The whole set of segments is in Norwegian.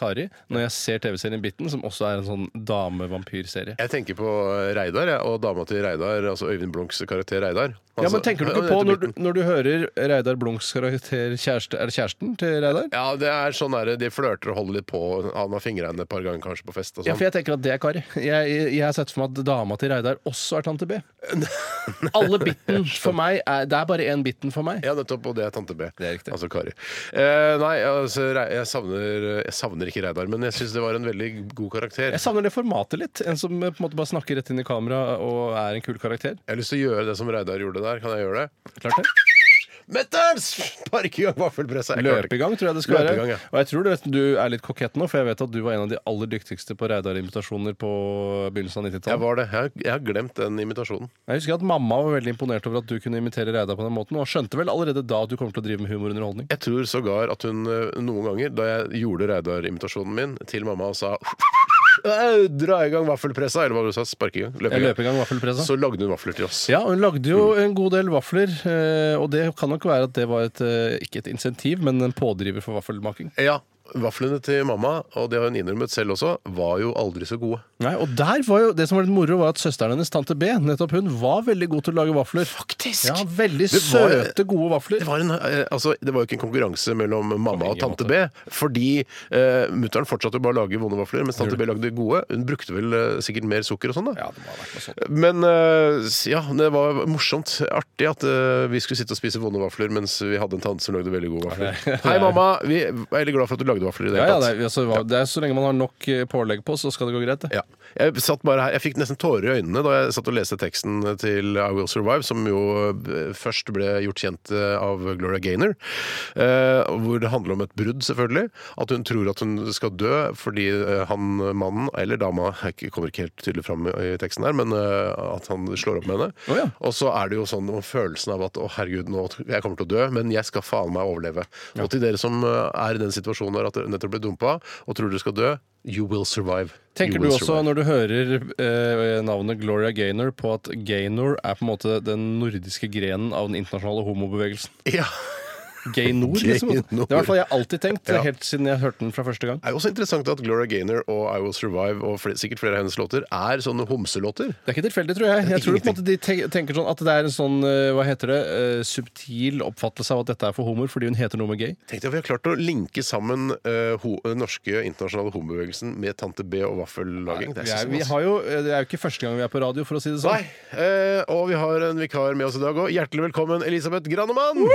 Kari når jeg ser TV-serien Bitten, som også er en sånn dame-vampyrserie. Jeg tenker på eh, Reidar jeg, og dama til Reidar, altså Øyvind Blunks karakter Reidar. Ja, Altså- men tenker du Han ikke på heter når du, Bitten. når du hører Reidar Blunks karakter kjæreste, Er det kjæresten til Reidar? Ja, det er sånn der, de flørter og holder litt på. Han har fingra henne et par ganger kanskje på fest. og Ja, sånn. for jeg tenker at det er Kari. Jeg, jeg, jeg har sett for meg at dama til Reidar også er tante B. Alle Bitten for meg er, Det er bare én Bitten for meg. Ja, nettopp, og det er tante B. Det er riktig. Altså Kari. Eh, nei, altså, Re- jeg savner, jeg savner ikke Reidar, men jeg syns det var en veldig god karakter. Jeg savner det formatet litt. En som eh, på en måte bare snakker rett inn i kamera og er en kul karakter. Jeg har lyst til å gjøre det som Reidar gjorde der. Kan jeg gjøre det? Klart det. Møtter'n! Sparke i gang vaffelpresset! Jeg klarer det ikke. Løpegang tror jeg det skal Løpegang, være. ja. Og jeg tror du, vet, du er litt kokett nå, for jeg vet at du var en av de aller dyktigste på Reidar-invitasjoner på begynnelsen av Jeg 90-tallet. var det. Jeg, har- jeg har glemt den invitasjonen. Jeg husker at mamma var veldig imponert over at du kunne imitere Reidar på den måten, og skjønte vel allerede da at du kommer til å drive med humorunderholdning. Jeg tror sågar at hun eh, noen ganger, da jeg gjorde Reidar-invitasjonen min til mamma og sa «Au, Dra i gang vaffelpressa! Eller hva var det du sa? Sparke i gang? Løpe i gang. Løpegang, vaffelpressa. Så lagde hun vafler til oss. Ja, hun lagde jo en god del vafler, eh, og det kan nok være at det var et, eh, ikke et insentiv, men en pådriver for vaffelmaking. Ja, Vaflene til mamma, og det har hun innrømmet selv også, var jo aldri så gode. Nei, og der var jo, Det som var litt moro, var at søsteren hennes, tante B, nettopp hun, var veldig god til å lage vafler. Faktisk! Ja, Veldig Det var- søte, gode vafler. Det var, en, eh, altså, det var jo ikke en konkurranse mellom mamma og ingen tante B. Fordi eh, mutter'n fortsatte bare å lage vonde vafler, mens tante B lagde gode. Hun brukte vel eh, sikkert mer sukker og sånn, da. Ja, det må ha vært noe sånt. Men eh, s- ja, det var morsomt. Artig at eh, vi skulle sitte og spise vonde vafler mens vi hadde en tante som lagde veldig gode Ja, vafler. det- Hei, mamma! Vi er veldig glad for at du lagde vafler i det Ja, hele ja, tatt. det, er, altså, hva- det er så lenge man har nok eh, pålegg på, så skal det gå greit. Det. Ja. Jeg satt bare her, jeg fikk nesten tårer i øynene da jeg satt og leste teksten til I Will Survive, som jo eh, først ble gjort kjent eh, av Gloria Gaynor. eh, Hvor det handler om et brudd, selvfølgelig. At hun tror at hun skal dø fordi eh, han mannen, eller dama, jeg kommer ikke helt tydelig fram i i teksten her, men eh, at han slår opp med henne. Å, ja. Og så er det jo sånn og følelsen av at å herregud, nå, jeg kommer til å dø, men jeg skal faen meg overleve. Og til dere som eh, er i den situasjonen der at dere nettopp ble dumpa og tror dere skal dø, you will survive. Tenker You du will også, survive. når du hører eh, navnet Gloria Gaynor, på at Gaynor er på en måte den nordiske grenen av den internasjonale homobevegelsen? Ja. Gaynor, liksom. Det Gaynor. er i hvert fall jeg alltid tenkt, Ja. helt siden jeg hørte den fra første gang. Det er jo også interessant at Gloria Gaynor og I Will Survive og fl sikkert flere av hennes låter er sånne homselåter. Det er ikke tilfeldig, tror jeg. Jeg tror på en måte de te- tenker sånn at det er en sånn eh, hva heter det, eh, subtil oppfattelse av at dette er for homoer fordi hun heter noe med gay. Tenk deg at vi har klart å linke sammen eh, ho den norske internasjonale homobevegelsen med Tante B og vaffellaging. Det Vi er er, så vi masse. har jo, eh, det er jo ikke første gang vi er på radio, for å si det Nei, sånn. eh, og vi har en vikar med oss i dag òg. Hjertelig velkommen, Elisabeth Granemann!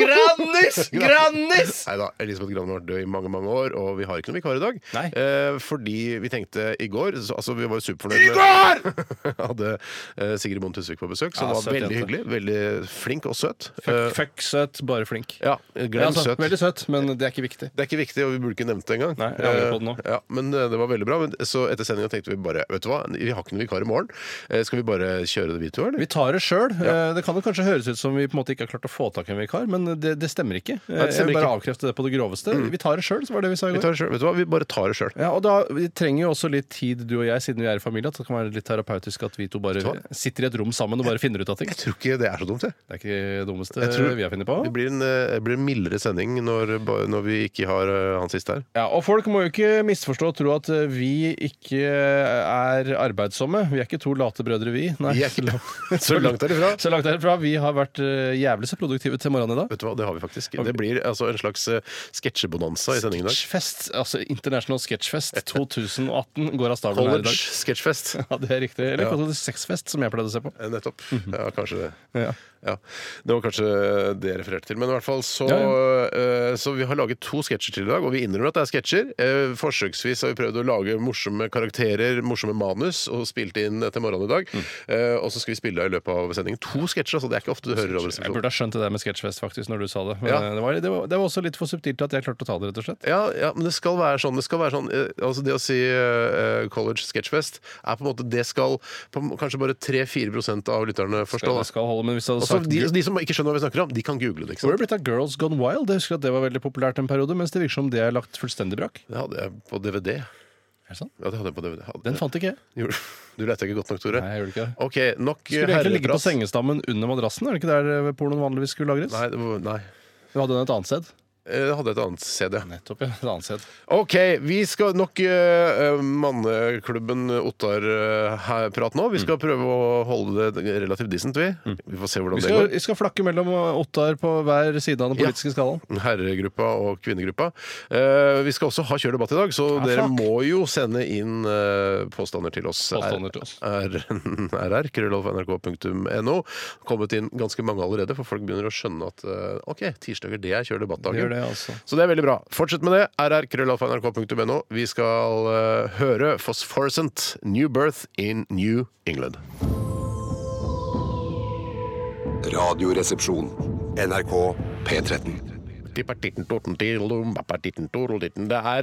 Grannis! Grannis! Nei da, Elisabeth Granemann har vært død i mange mange år, og vi har ikke noen vikar i dag. Nei. Eh, fordi vi tenkte i går så, Altså, vi var jo superfornøyde med Hadde eh, Sigrid Bonde Tusvik på besøk, som Ja, var søt veldig jente. hyggelig. Veldig flink og søt. Eh, Fuck, fuck søt, bare flink. Ja, glem Ja, altså, søt. Veldig søt, men det er ikke viktig. Det er ikke viktig, og vi burde ikke nevnt det engang. Nei, jeg angrer på det nå. Eh, Ja, men eh, det var veldig bra. Men, så etter sendinga tenkte vi bare Vet du hva, vi har ikke noen vikar i morgen. Eh, Skal vi bare kjøre det, vi to, eller? Eh, Vi tar det sjøl. Det kan jo kanskje høres ut som vi på en måte ikke har klart å få tak i en vikar, men det, det stemmer ikke. Eh, det jeg stemmer vil bare ikke. Mm. avkrefte det på det groveste. Vi tar det sjøl, så var det vi sa i Vi går. tar det selv. Vet du hva, vi bare tar det sjøl. Ja, og da, Vi trenger jo også litt tid, du og jeg, siden vi er i familie. At det kan være litt terapeutisk at vi to bare Vet du sitter i et rom sammen og bare finner ut av ting. Jeg tror ikke det er så dumt, jeg. Det er ikke det dummeste Jeg tror- vi har funnet på. Det blir en, eh, det blir en mildere sending når, ba- når vi ikke har eh, han siste her. Ja, Og folk må jo ikke misforstå og tro at eh, vi ikke eh, er arbeidsomme. Vi er ikke to late brødre, vi. Nei, Vi er ikke- så så langt derifra. Så langt derifra. Vi har vært eh, jævlig så produktive til morgenen i dag. Vet du hva, Det har vi faktisk. Det blir altså en slags eh, sketsjebonanza i sendingen i dag. Sketsjfest, altså International Sketchfest 2018 går av stabelen her i dag. College-sketsjfest. Ja, det er riktig. Eller Ja. ja. sexfest, som jeg pleide å se på. Eh, Nettopp. Ja, kanskje det. Ja. Ja, Det var kanskje det jeg refererte til. Men i hvert fall så, Ja, eh, så vi har laget to sketsjer til i dag, og vi innrømmer at det er sketsjer. Eh, Forsøksvis har vi prøvd å lage morsomme karakterer, morsomme manus, og spilt inn til morgenen i dag. Eh, Og så skal vi spille av i løpet av sendingen. To sketsjer, altså. Det er ikke ofte du hører Jeg Radioresepsjonen. burde ha skjønt det der med sketsjfest faktisk når du sa det. Men Ja. eh, det, var, det, var, det var også litt for subtilt til at jeg klarte å ta det, rett og slett. Ja, ja, men det skal være sånn. Det, skal være sånn, eh, altså det å si eh, College Sketchfest er på en måte Det skal på, kanskje bare 3-4 prosent av lytterne forstå. Det da. skal holde, men hvis jeg hadde Også sagt de, de som ikke skjønner hva vi snakker om, de kan google det. ikke Hvor er sant? det blitt av Girls Gone Wild? Jeg husker at det var veldig populært en periode, mens det virker som det er lagt fullstendig brakk. Det hadde jeg på DVD. Er det sant? Ja, det hadde jeg på DVD. Hadde- Den fant ikke jeg. Gjorde- Du lette ikke godt nok, Tore. Nei, jeg gjorde ikke det. Ok, nok Skulle egentlig ligge på herreprat. sengestammen under madrassen? Er det ikke der eh, pornoen vanligvis skulle lagres? Nei, det var, nei. Du hadde den et annet sted? Eh, Jeg hadde et annet CD. Nettopp, ja. Et annet sted. Ok, vi skal nok eh, eh, manneklubben Ottar-prat nå. Mm. Vi skal prøve å holde det relativt decent, vi. Vi får se hvordan Vi det skal, går. vi skal flakke mellom Ottar på hver side av den Ja. politiske skalaen. Herregruppa og kvinnegruppa. Eh, vi skal også ha kjør debatt i dag, så Ah, dere fuck. må jo sende inn eh, påstander til oss. Påstander til oss. R- RR, krøllalfa.nrk.no. Kommet inn ganske mange allerede, for folk begynner å skjønne at eh, OK, tirsdager det er Det kjør gjør debatt-dagen. det, altså. Så det er veldig bra. Fortsett med det. RR, krøllalfa.nrk.no. Vi skal eh, høre Phosphorescent, New Birth in New England. Radioresepsjon. NRK P13. Det er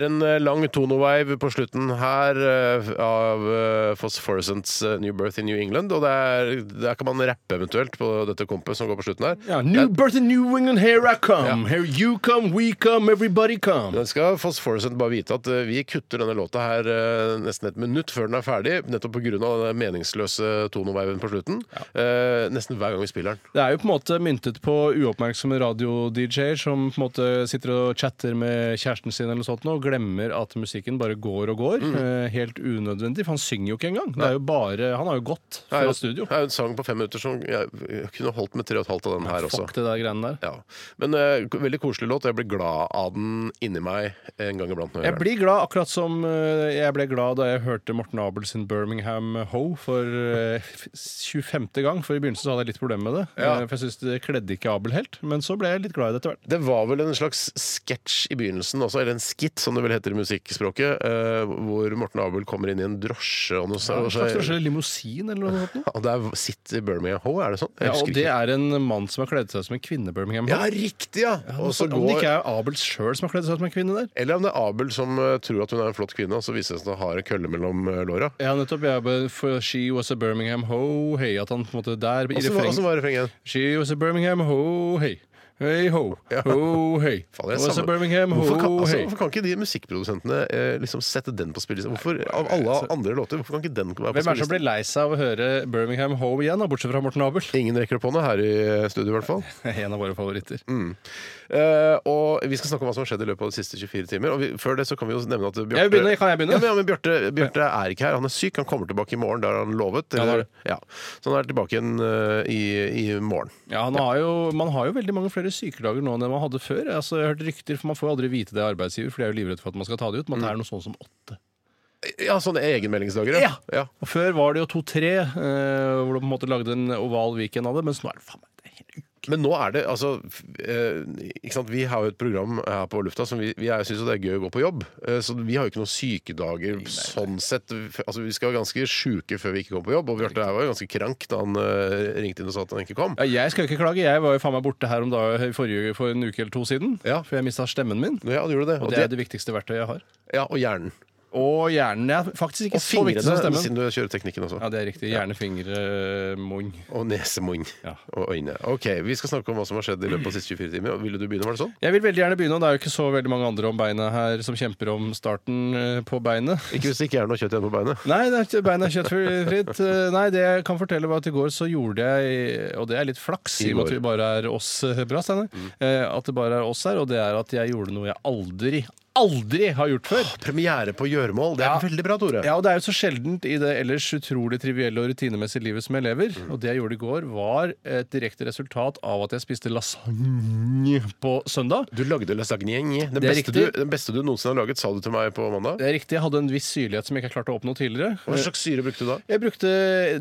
en eh, lang tonoveiv på slutten her eh, av eh, Phosphorescents eh, New Birth in New England. Og det er, der kan man rappe eventuelt på dette kompet som går på slutten her. Ja, new birth in New England, here I come. Here you come, we come, everybody come. Da skal Phosphorescent bare vite at eh, vi kutter denne låta her eh, nesten et minutt før den er ferdig, nettopp pga. den meningsløse tonoveiven på slutten. Eh, nesten hver gang vi spiller den. Det er jo på en måte myntet på uoppmerksomme radio-DJ-er som på en måte sitter og chatter med kjæresten sin eller noe sånt nå, og glemmer at musikken bare går og går. Eh, Helt unødvendig, for han synger jo ikke engang. Det er jo bare, Han har jo gått fra Det er jo- studio. Det er jo en sang på fem minutter som jeg jeg kunne holdt med tre og et halvt av den her også. Fuck det der greiene der. Ja. Men eh, k- veldig koselig låt. og Jeg blir glad av den inni meg en gang iblant. når jeg Jeg hører den. blir glad, akkurat som eh, jeg ble glad da jeg hørte Morten Abel sin Birmingham Ho for eh, f- 25. gang. For i begynnelsen så hadde jeg litt problemer med det. Ja. Eh, For jeg syns det kledde ikke Abel helt. Men så ble jeg litt glad i det etter hvert. Det var vel en slags sketsj i begynnelsen også, eller en skit, som det vel heter i musikkspråket, eh, hvor Morten Abel kommer inn i en drosje og noe Ja, en sånt. slags kanskje limousin eller noe sånt. noe? og der sitter Birmingham Ho, er det sånn? Jeg Ja, og husker det ikke. er en mann som har kledd seg som en kvinne, Birmingham. Ja, riktig, ja! Og så Om det går ikke er Abel sjøl som har kledd seg som en kvinne der? eller om det er Abel som eh, tror at hun er en flott kvinne, og så viser det seg at hun har en kølle mellom eh, låra. Ja, nettopp. Jeg bare, for she was a Birmingham ho, hey. At han på en måte der i Åssen var- åssen refrenget var refrenget? She was a Birmingham ho, hey. Hey ho, Ja. ho, hey. Faen, jeg was a savner- Birmingham ho, hvorfor, kan, altså, hey. hvorfor kan ikke de musikkprodusentene eh, liksom sette den på spillelisten? Hvorfor, av alle andre låter, hvorfor kan ikke den være på altså- Hvem er det som blir spillelisten? lei seg av å høre Birmingham ho igjen, da, bortsett fra Morten Abel? Ingen rekker opp hånda her i studio, i hvert fall. En av våre favoritter. Eh, og vi skal snakke om hva som har skjedd i løpet av de siste 24 timer. Og vi, før det så kan vi jo nevne at Bjarte Jeg begynner, kan jeg begynne? Ja, men, ja, men Bjarte, Bjarte er ikke her. Han er syk. Han kommer tilbake i morgen, der han lovet. han er Eller, det. ja, så han er tilbake igjen eh, i, i morgen. Ja, han har jo, Man har jo veldig mange flere sykedager nå enn det man hadde før. Altså, jeg har hørt rykter, for Man får jo aldri vite det av arbeidsgiver, for de er jo livredd for at man skal ta det ut. Men det er noe sånn som åtte. Ja, sånne egenmeldingsdager, Ja. Og Før var det jo to-tre, eh, hvor du på en måte lagde en oval weekend av det. Mens nå er det faen meg det er hele uka. Men nå er det altså f- eh, ikke sant? Vi har jo et program her på lufta som vi, vi syns det er gøy å gå på jobb. Eh, så vi har jo ikke noen sykedager sånn sett. F- Altså, vi skal være ganske sjuke før vi ikke kommer på jobb. Og Bjarte her var jo ganske krank da han eh, ringte inn og sa at han ikke kom. Ja, jeg skal jo ikke klage. Jeg var jo faen meg borte her om dag, forrige, for en uke eller to siden. Ja. For jeg mista stemmen min. Ja, du gjorde det. Og Og, det er det, det viktigste verktøyet jeg har. ja, og hjernen. og hjernen. Det er faktisk ikke Og så viktig som fingrene, stemmen. siden du kjører teknikken også. Ja, det er riktig. Hjerne, fingre, munn. Og nesemunn Ja. og øyne. Ok, Vi skal snakke om hva som har skjedd i løpet av de siste 24 timer. Og Ville du begynne, var det sånn? Jeg vil veldig gjerne begynne, og det er jo ikke så veldig mange andre om beina her som kjemper om starten eh, på beinet. Ikke hvis det ikke er noe kjøtt igjen på beinet. Nei, det er ikke beina er kjøttfritt. Eh, Nei, det jeg kan fortelle var at i går så gjorde jeg, og det er litt flaks, I i og med at går. vi bare er oss eh, bra, Steinar, eh, at det bare er oss her, og det er at jeg gjorde noe jeg aldri, aldri har gjort før. Premiere på gjøremål. Det er Ja. veldig bra, Tore. Ja, og Det er jo så sjeldent i det ellers utrolig trivielle og rutinemessige livet som jeg lever. Og det jeg gjorde i går, var et direkte resultat av at jeg spiste lasagne på søndag. Du lagde lasagne. Den, Det er beste du, riktig. den beste du noensinne har laget, sa du til meg på mandag. Det er riktig, jeg hadde en viss syrlighet som jeg ikke klarte å oppnå tidligere. Hva slags syre brukte du da? Jeg brukte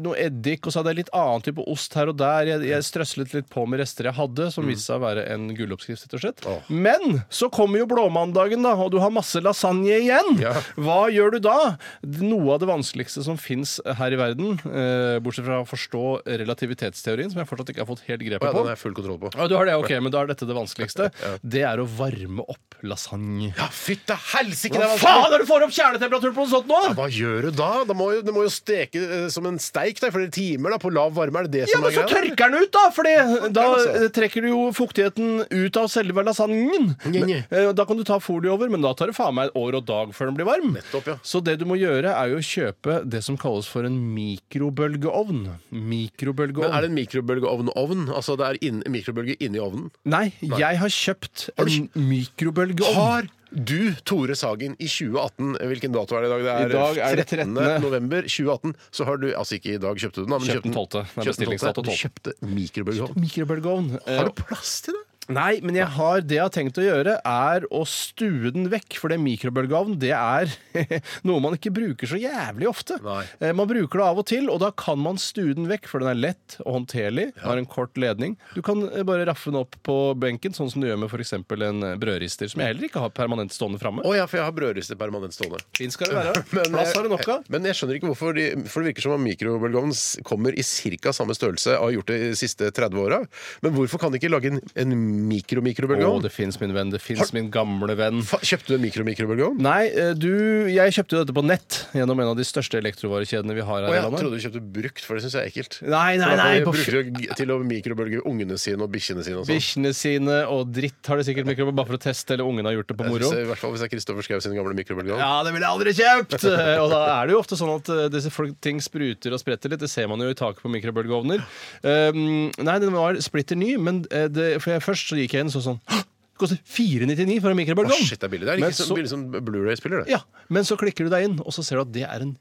noe eddik, og så hadde jeg litt annen type ost her og der. Jeg, jeg strøslet litt på med rester jeg hadde, som viste seg å være en gulloppskrift, rett og slett. Åh. Men så kommer jo blåmandagen, da, og du har masse lasagne igjen. Ja. Hva gjør du da? Noe av det vanskeligste som fins her i verden, eh, bortsett fra å forstå relativitetsteorien, som jeg fortsatt ikke har fått helt grepet Ja, på. den har jeg full kontroll på. Ja, du har det, ok, men da er dette det vanskeligste. Det er å varme opp lasagne. Ja, fytte helsike! Hva faen er det du får opp kjernetemperaturen på noe sånt nå?! Hva gjør du da? Det må jo, det må jo steke eh, som en steik da, i flere timer da, på lav varme. Er det det Ja, som men så er greia? tørker den ut, da! Fordi da altså. eh, trekker du jo fuktigheten ut av selve lasagnen. Nje, nje. Men, eh, Da kan du ta folie over, men da tar det faen meg et år og dag før den blir varm. Nettopp, ja. Så det du må gjøre, er jo å kjøpe det som kalles for en mikrobølgeovn. Mikrobølgeovn. Men er det en mikrobølgeovn-ovn? Altså det er inn, mikrobølge inni ovnen? Nei, jeg har kjøpt du en mikrobølgeovn. Har du, Tore Sagen, i 2018 Hvilken dato er det i dag? Det I dag er det 13. november 2018. Så har du Altså ikke i dag kjøpte du den, da, men Kjøpt den 12.. Det er kjøpt den 12.. bestillingsdato Du kjøpte mikrobølgeovn. Mikrobølgeovn. Eh, Har du plass til det? Nei, men jeg har, det jeg har tenkt å gjøre, er å stue den vekk. For det mikrobølgeovn det er noe man ikke bruker så jævlig ofte. Nei. Eh, Man bruker det av og til, og da kan man stue den vekk, for den er lett og håndterlig. Har en kort ledning. Du kan eh, bare raffe den opp på benken, sånn som du gjør med f.eks. en eh, brødrister, som jeg heller ikke har permanent stående framme. Å ja, for jeg har brødrister permanent stående. Fin skal det være. Men Plass har jeg- du nok av. Men jeg skjønner ikke hvorfor de, For det virker som om mikrobølgeovnen s- kommer i ca. samme størrelse og har gjort det de siste 30 åra. Men hvorfor kan de ikke lage en, en Å, mikro-mikrobølgeovn? det fins, min venn. Det fins, min gamle venn. Fa- Kjøpte du en mikro-mikrobølgeovn? Nei, eh, du, jeg kjøpte jo dette på nett gjennom en av de største elektrovarekjedene vi har her Å, i jeg landet. trodde du kjøpte brukt, for det syns jeg er ekkelt. Nei, nei, For da kan nei, de på bruker jo g- til å mikrobølge ungene sine og bikkjene sine og sånn. Bikkjene sine og dritt har de sikkert mikrofoner bare for å teste, eller ungene har gjort det på Jeg moro. synes det- I hvert fall hvis det er Kristoffer Schou sin gamle mikrobølgeovn. Ja, det ville jeg aldri kjøpt! Og da er det jo ofte sånn at eh, disse folk, ting spruter og spretter litt. Det ser man jo i taket på mikrobølgeovner. Um, nei, den var splitter ny, men eh, det, for jeg, først så gikk jeg inn så sånn «Hå! Det koster 499 for en Å, mikrobølgeovn! shit, det er billig. Det er Men like så... så- billig som Blu-ray-spiller, det. Ja, Men så klikker du deg inn, og så ser du at det er en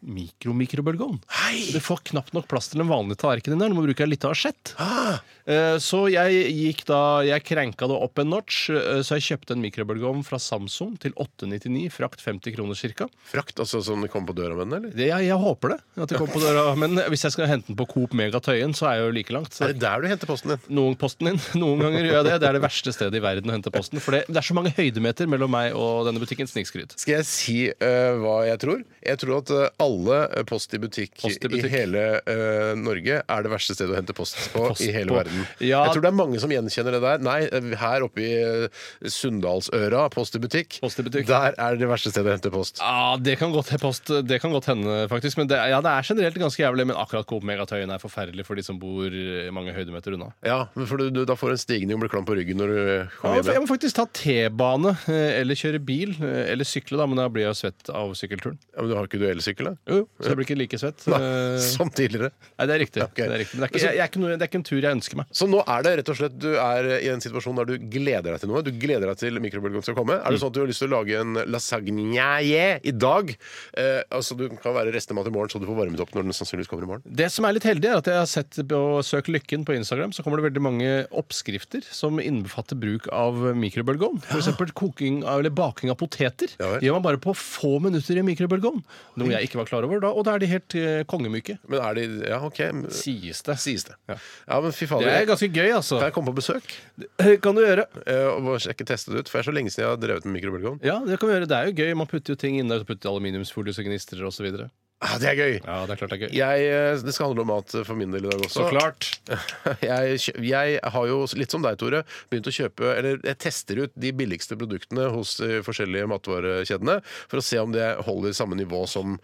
mikromikrobølgeovn. Du får knapt nok plass til den vanlige tallerkenen der. Du må bruke ei lita asjett. Eh, Så jeg gikk da Jeg krenka det opp en notch, eh, så jeg kjøpte en mikrobølgeovn fra Samsung til 899, frakt 50 kroner ca. Frakt, altså som det kommer på døra med den, eller? Jeg, jeg håper det. at det kommer på døra Men hvis jeg skal hente den på Coop Megatøyen, så er jeg jo like langt. Er Så det der du henter posten din? noen posten din, noen ganger gjør jeg det. Det er det verste stedet i verden å hente posten. For det, det er så mange høydemeter mellom meg og denne butikken. Snikskryt. Skal jeg si eh, hva jeg tror? Jeg tror at eh, alle eh, post i butikk, Post i butikk. i hele eh, Norge er det verste stedet å hente post på Post i hele på. verden. Ja. Jeg tror det er mange som gjenkjenner det der. Nei, eh, her oppe i eh, Sunndalsøra, post i butikk, Post i butikk. der er det verste stedet å hente post. Ja, det kan godt, post, det kan godt hende, faktisk. Men det, ja, det er generelt ganske jævlig. Men akkurat Coop Megatøyen er forferdelig for de som bor eh, mange høydemeter unna. Ja, men for du, du, Da får du en stigning og blir klam på ryggen når du eh, kommer Ja, altså, hjem. jeg igjen. må faktisk ta T-bane, eh, eller kjøre bil, eh, eller sykle, da, men da blir jeg jo svett av sykkelturen. Ja, men du har ikke du elsykkel, da? Jo, jo, så jeg blir ikke like svett. Eh, Som tidligere. Nei, det er riktig. Ok. Det, er riktig. Men det, er ikke, jeg, jeg er ikke noe, det er ikke en tur jeg ønsker meg. Så nå er det rett og slett du er eh, i en situasjon der du gleder deg til noe. Du gleder deg til mikrobølgeovnen skal komme. Er Mm. det sånn at du har lyst til å lage en lasagne i dag? Eh, altså Du kan være restemat i morgen, så du får varmet opp når den sannsynligvis kommer i morgen. Det som er litt heldig, er at jeg har sett på Søk lykken på Instagram, så kommer det veldig mange oppskrifter som innbefatter bruk av mikrobølgeovn. F.eks. koking av- eller baking av poteter. Ja vel. gjør man bare på få minutter i mikrobølgeovn. Noe jeg ikke var klar over da, og da er de helt eh, kongemyke. Men er de Ja, OK. Sies det. Sies det. Ja. Ja, men fy Det er fader. ganske gøy, altså. Kan jeg komme på besøk Det Kan du gjøre. eh, og bare sjekke testet ut? For det er så lenge siden jeg har drevet med mikrobølgeovn. Ja, det kan vi gjøre. Det er jo gøy. Man putter jo ting inne. Putter aluminiumsfolie og gnister og så videre. Ah, det er gøy! Ja, det er klart det er gøy. Jeg, eh, det skal handle om mat for min del i dag også. Så klart. Jeg, kjø- jeg har jo, litt som deg, Tore, begynt å kjøpe Eller jeg tester ut de billigste produktene hos eh, forskjellige matvarekjedene for å se om det holder samme nivå som,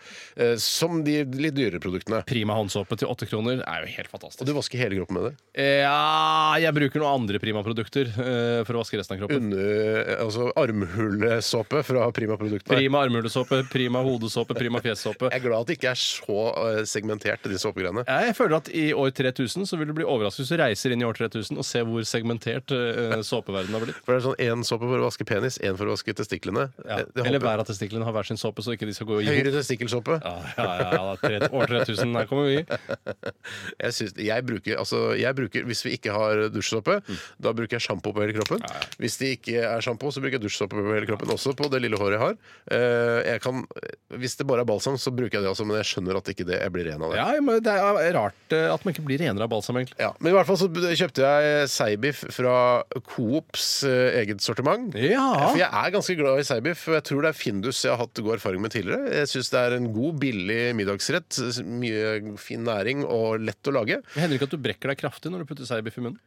eh, som de litt dyrere produktene. Prima håndsåpe til åtte kroner er jo helt Og fantastisk. du vasker hele kroppen med det? Ja, jeg bruker noen andre Prima-produkter eh, for å vaske resten av kroppen. Under, altså armhulesåpe fra Prima Produktene. Prima armhulesåpe, Prima hodesåpe, Prima fjesåpe. Jeg er glad at det ikke er så eh, segmentert, de såpegreiene. Jeg føler at i år 3000 så vil du bli overrasket hvis du reiser inn i år 3000 og ser hvor segmentert eh, såpeverdenen har blitt. For det er sånn Én såpe for å vaske penis, én for å vaske testiklene. Ja. Eh, det Eller håper- hver av testiklene har hver sin såpe, så ikke de skal gå i hop. Høyere testikkelsåpe. Ja, ja, ja, ja, tre, år 3000, her kommer vi. Jeg, syns- jeg, bruker, altså, jeg bruker, Hvis vi ikke har dusjsåpe, da bruker jeg sjampo på hele kroppen. Hvis det ikke er sjampo, så bruker jeg dusjsåpe på hele kroppen, også på det lille håret jeg har. Eh, jeg kan, hvis det bare er balsam, så bruker jeg det også, men jeg skjønner at ikke det, jeg blir ren av det. Ja, men det er rart eh, at man ikke blir renere av balsam, egentlig. Ja, men i hvert fall så kjøpte jeg seibiff fra Coops eh, eget sortiment. Ja. For jeg er ganske glad i seibiff, og jeg tror det er Findus jeg har hatt god erfaring med tidligere. Jeg syns det er en god, billig middagsrett. Mye fin næring og lett å lage. Det hender ikke at du brekker deg kraftig når du putter seibiff i munnen.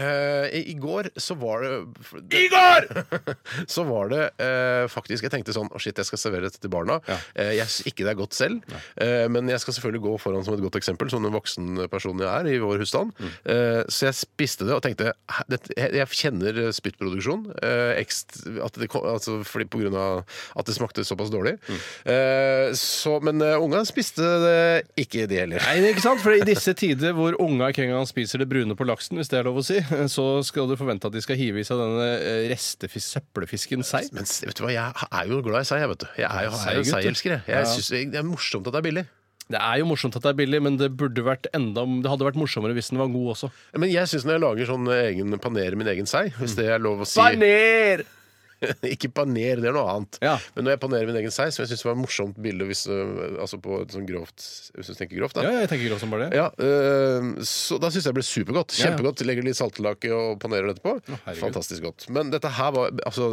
Eh, I i går så var det I går! så var det eh, faktisk Jeg tenkte sånn Å, shit, jeg skal servere dette til barna. Ja. Eh, jeg syns ikke det er godt selv, eh, men jeg skal selvfølgelig gå foran som et godt eksempel, som den voksne personen jeg er i vår husstand. Eh, så jeg spiste det og tenkte "Hæ, dette- Jeg jeg kjenner eh, spyttproduksjon. eh, ekst- at det, kom- altså, fordi på grunn av at det smakte såpass dårlig. Eh, så, men eh, unga spiste det ikke, de heller. Nei, ikke sant? For I disse tider hvor unga ikke engang spiser det brune på laksen, hvis det er lov å si, så skal du forvente at de skal hive i seg denne eh, restefis- søppelfisken sei. Men s- vet du hva, jeg er jo glad i sei, jeg, vet du. Jeg er jo, jeg er jo Sei, gutter. seielsker, jeg. Ja. jeg synes det er morsomt at det er billig. Det er jo morsomt at det er billig, men det burde vært enda Det hadde vært morsommere hvis den var god også. Men jeg syns når jeg lager sånn egen panerer min egen sei, hvis det er lov å si Baner! Ikke paner, det er noe annet. Ja. Men når jeg panerer min egen sei, som jeg syns var et morsomt bilde hvis, øh, altså på et sånn grovt Hvis du tenker grovt, da. Ja, jeg tenker ikke som bare det. Ja, øh, så Da syns jeg det ble supergodt. Ja, ja. Kjempegodt. Legger litt saltlake og panerer det etterpå. herregud. Fantastisk godt. Men dette her var altså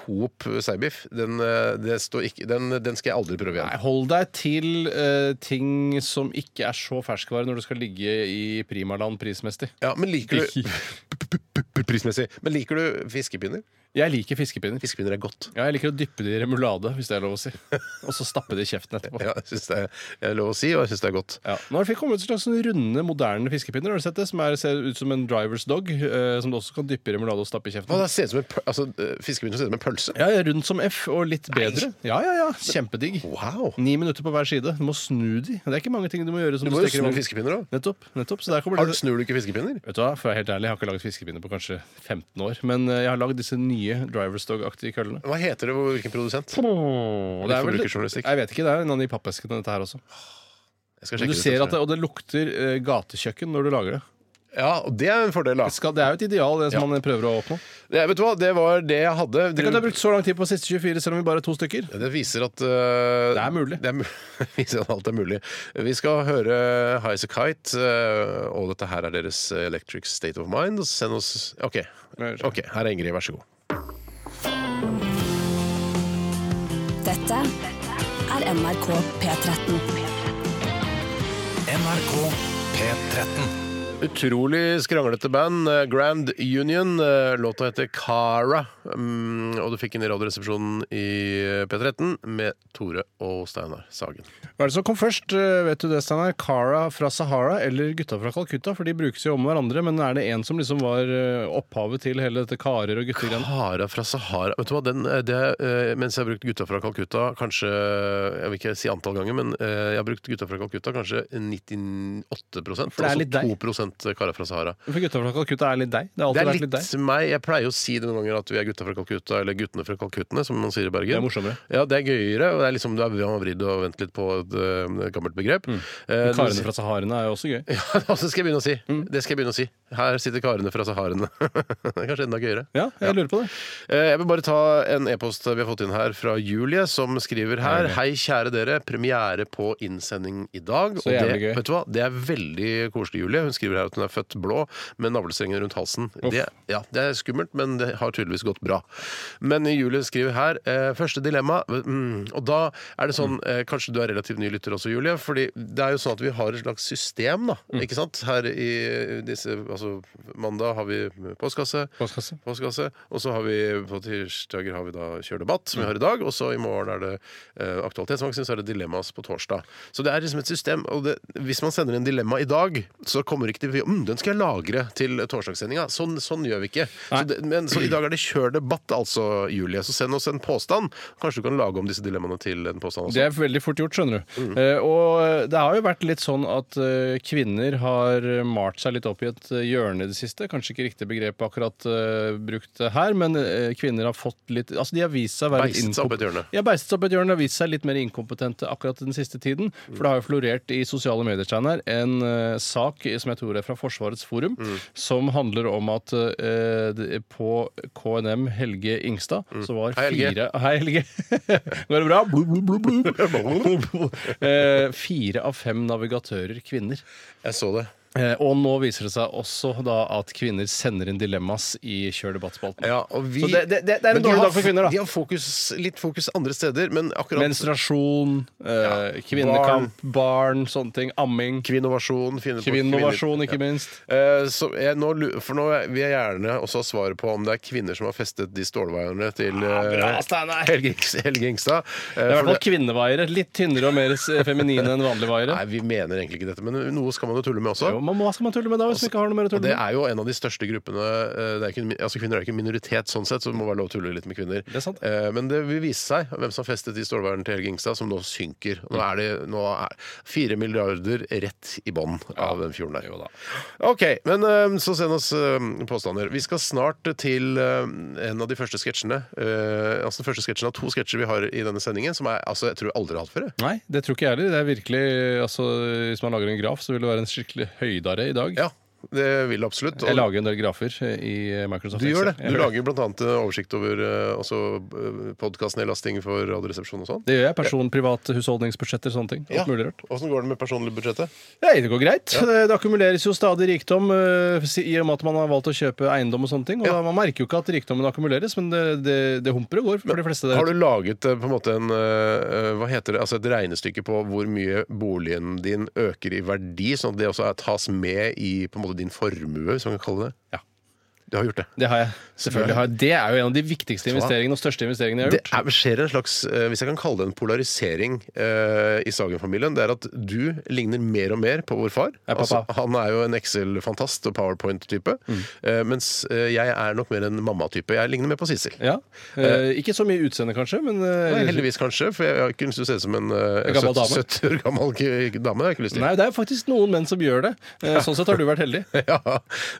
Coop seibiff. Den, øh, det står ikke, den, den skal jeg aldri prøve igjen. Nei, hold deg til eh, ting som ikke er så ferskvare når du skal ligge i primaland prismessig. Ja, men liker du Prismessig. Men liker du fiskepinner? Jeg liker fiskepinner. Fiskepinner er godt. Ja, jeg liker å dyppe det i remulade, hvis det er lov å si. Og så stappe det i kjeften etterpå. Ja, jeg synes det er, jeg er lov å si, og jeg syns det er godt. Ja. Nå har det kommet ut en slags sånn runde, moderne fiskepinner. Har du sett det? Som er, ser ut som en driver's dog, eh, som du også kan dyppe i remulade og stappe i Å, kjeften. det ser ut som en, pøl- altså, eh, fiskepinner ser ut som en pølse. Ja, Rundt som F, og litt bedre. Ja, ja, ja. Kjempedigg. Wow! Ni minutter på hver side. Du må snu de. Det er ikke mange ting du må gjøre. som Du du, må jo steker i snu vann. fiskepinner òg. Nettopp. nettopp. Så der kommer det. Snur du ikke fiskepinner? Vet du hva, for å være helt ærlig, Jeg har ikke laget fiskepinner på kanskje 15 år. Men eh, jeg har lagd disse nye driver's dog-aktige køllene. Hva heter det? hvor- Hvilken produsent? Og det er vel, forbrukerjournalistikk. jeg vet ikke, det er en av de pappeskene, dette her også. Jeg skal Men du ut ser etterpå. at det, og det lukter eh, gatekjøkken når du lager det. Ja, og det er en fordel, da. Det, skal, det er jo et ideal, det som man eh, prøver å oppnå. Det, vet du hva, det var det jeg hadde. Tenk at du har brukt så lang tid på siste 24, selv om vi bare er to stykker. Det viser at eh, Det er mulig. Det er, mu- viser at alt er mulig. Vi skal høre High As A Kite, eh, og dette her er deres eh, Electric State of Mind. Og send oss OK. Ok, Her er Ingrid, vær så god. Dette er NRK P13. NRK P13. Utrolig skranglete band. eh, Grand Union. eh, Låta heter Cara. Mm, Og du fikk den i Radioresepsjonen i eh, P13 med Tore og Steinar Sagen. Hva er det som kom først? eh, Vet du det, Steinar? Cara fra Sahara eller gutta fra Calcutta? For de brukes jo om hverandre, men er det en som liksom var eh, opphavet til hele dette karer og guttegreiene? Cara fra Sahara Vet du hva, den, eh, det, eh, Mens jeg har brukt Gutta fra Calcutta kanskje Jeg vil ikke si antall ganger, men eh, jeg har brukt Gutta fra Calcutta kanskje 98 For det er litt deg. Altså 2 Cara fra Sahara. For gutta fra Calcutta er litt deg. Det har Det alltid er vært litt deg. litt meg. Jeg pleier å si det noen ganger at vi er gutta fra Calcutta, eller guttene fra Calcuttene, som man sier i Bergen. Det er morsommere. Ja, det er gøyere. og Det er liksom du er vridd og vent litt på et eh, gammelt begrep. Eh, Mm. Karene fra Mm. Saharene er jo også gøy. ja, det skal jeg begynne å si. Det skal jeg begynne å si. Her sitter karene fra Saharene. Det er Kanskje enda gøyere. Ja, jeg lurer på det. Eh, Jeg vil bare ta en e-post vi har fått inn her fra Julie, som skriver her. Hei, kjære dere. Premiere på innsending i dag. Så jævlig gøy. det, vet du hva? det er veldig koselig, Julie. Hun skriver er at hun er født blå med navlestrengen rundt halsen. Det, ja, det er skummelt, men det har tydeligvis gått bra. Men Julie skriver her eh, første dilemma. Mm, og da er det sånn Mm. eh, Kanskje du er relativt ny lytter også, Julie. fordi det er jo sånn at vi har et slags system, da. Mm. Ikke sant? Her i disse Altså, mandag har vi postkasse. Postkasse. Postkasse. Og så har vi på tirsdager har vi da Kjør debatt, som vi har i dag. Og så i morgen er det eh, Aktualitetsmagasin, så er det Dilemmas på torsdag. Så det er liksom et system. Og det, hvis man sender inn dilemma i dag, så kommer ikke de mm, Den skal jeg lagre til torsdagssendinga. Sånn, sånn gjør vi ikke. Så, det, men, så i dag er det Kjør debatt, altså, Julie. Så send oss en påstand. Kanskje du kan lage om disse dilemmaene til en påstand Det også. Mm. er veldig fort gjort, skjønner du. Eh, og det har jo vært litt sånn at eh, kvinner har eh, malt seg litt opp i et eh, hjørne i det siste. Kanskje ikke riktig begrep akkurat eh, brukt her, men eh, kvinner har fått litt Altså, de har vist seg å være Beistet seg opp i et hjørne. Ja, beistet seg opp i et hjørne og har vist seg litt mer inkompetente akkurat den siste tiden. For det har jo florert i sosiale medier Steinar, en eh, sak som jeg tror er fra Forsvarets forum, som handler om at eh, det- på KNM Helge Ingstad så var Mm. Hei, fire Helge. Hei, Helge. Går det bra? Blu, blu, blu, blu. Eh, Fire av fem navigatører kvinner. Jeg så det. Eh, Og nå viser det seg også da at kvinner sender inn dilemmas i Kjør debatt-spalten. Ja, og vi, Så det- det- det- det er en Men de dårlig har dag for kvinner, da. f- De har fokus, litt fokus andre steder, men akkurat Menstruasjon, eh, kvinnekamp, barn, sånne ting. Amming. Kvinnovasjon. finne på Kvinnovasjon, kvinner- ikke Ja. minst. Eh, Så jeg, nå, lu- for nå vil jeg gjerne også ha svaret på om det er kvinner som har festet de stålveierne til eh, bra, Steinar. Helge, Ings- Helge Ingstad. Det Eh, er i hvert for fall kvinnevaiere. Litt tynnere og mer s- feminine enn vanlige vaiere. Nei, vi mener egentlig ikke dette, men noe skal man jo tulle med også. Jo, men Hva Altså, skal man tulle med da, hvis man ikke har noe mer å Og tulle det med? er jo en av de største gruppene eh, det er ikke, en mi- altså Kvinner er ikke en minoritet sånn sett, så det må være lov å tulle litt med kvinner. er sant. Eh, Men det vil vise seg hvem som har festet i stålvernet til Helge Ingstad, som nå synker. Nå Mm. er det nå er fire milliarder rett i bånn av den fjorden der. Jo da. Ok, men eh, så send oss eh, påstander. Vi skal snart til eh, en av de første sketsjene. eh, Altså den første sketsjen av to sketsjer vi har i denne sendingen, som er, altså, jeg tror jeg aldri har hatt før. jeg. Nei, det tror ikke jeg heller. Det er virkelig, altså, Hvis man lager en graf, så vil det være en skikkelig høydare i dag. Ja, det vil jeg absolutt. Jeg Og- lager en del grafer i Microsoft Du gjør det. Excel. Jeg Du lager bl.a. oversikt over eh, podkastnedlasting for Radioresepsjonen og sånn. Det gjør jeg. Person, privat, husholdningsbudsjetter, sånne ting. Alt mulig rart. Åssen går det med personlig budsjettet? Nei, det går greit. Det akkumuleres jo stadig rikdom eh, si- i og med at man har valgt å kjøpe eiendom og sånne ting. Og da, Man merker jo ikke at rikdommen akkumuleres, men det, det, det humper og går for de fleste. der Har ute. du laget eh, på en måte en, eh, hva heter det, altså et regnestykke på hvor mye boligen din øker i verdi, sånn at det også er, tas med i på en måte din formue, hvis man kan kalle det? Ja. Du har gjort det. Det har jeg. Selvfølgelig har jeg. Det er jo en av de viktigste investeringene og største investeringene jeg har Det gjort. er, skjer en slags, eh, hvis jeg kan kalle det en polarisering eh, i Sagen-familien, det er at du ligner mer og mer på vår far. Ja, pappa. Altså, han er jo en Excel-fantast og PowerPoint-type. Mm. eh, mens eh, jeg er nok mer en mamma-type. Jeg ligner mer på Sissel. Ja. Eh, ikke så mye utseende, kanskje, men eh, Nei, heldigvis kanskje, for jeg har ikke lyst til å se ut som en eh, En gammel 70 dame. 70 år gammel k- dame. Det har jeg ikke lyst til. Nei, det er faktisk noen menn som gjør det. Eh, Sånn sett har du vært heldig. Ja,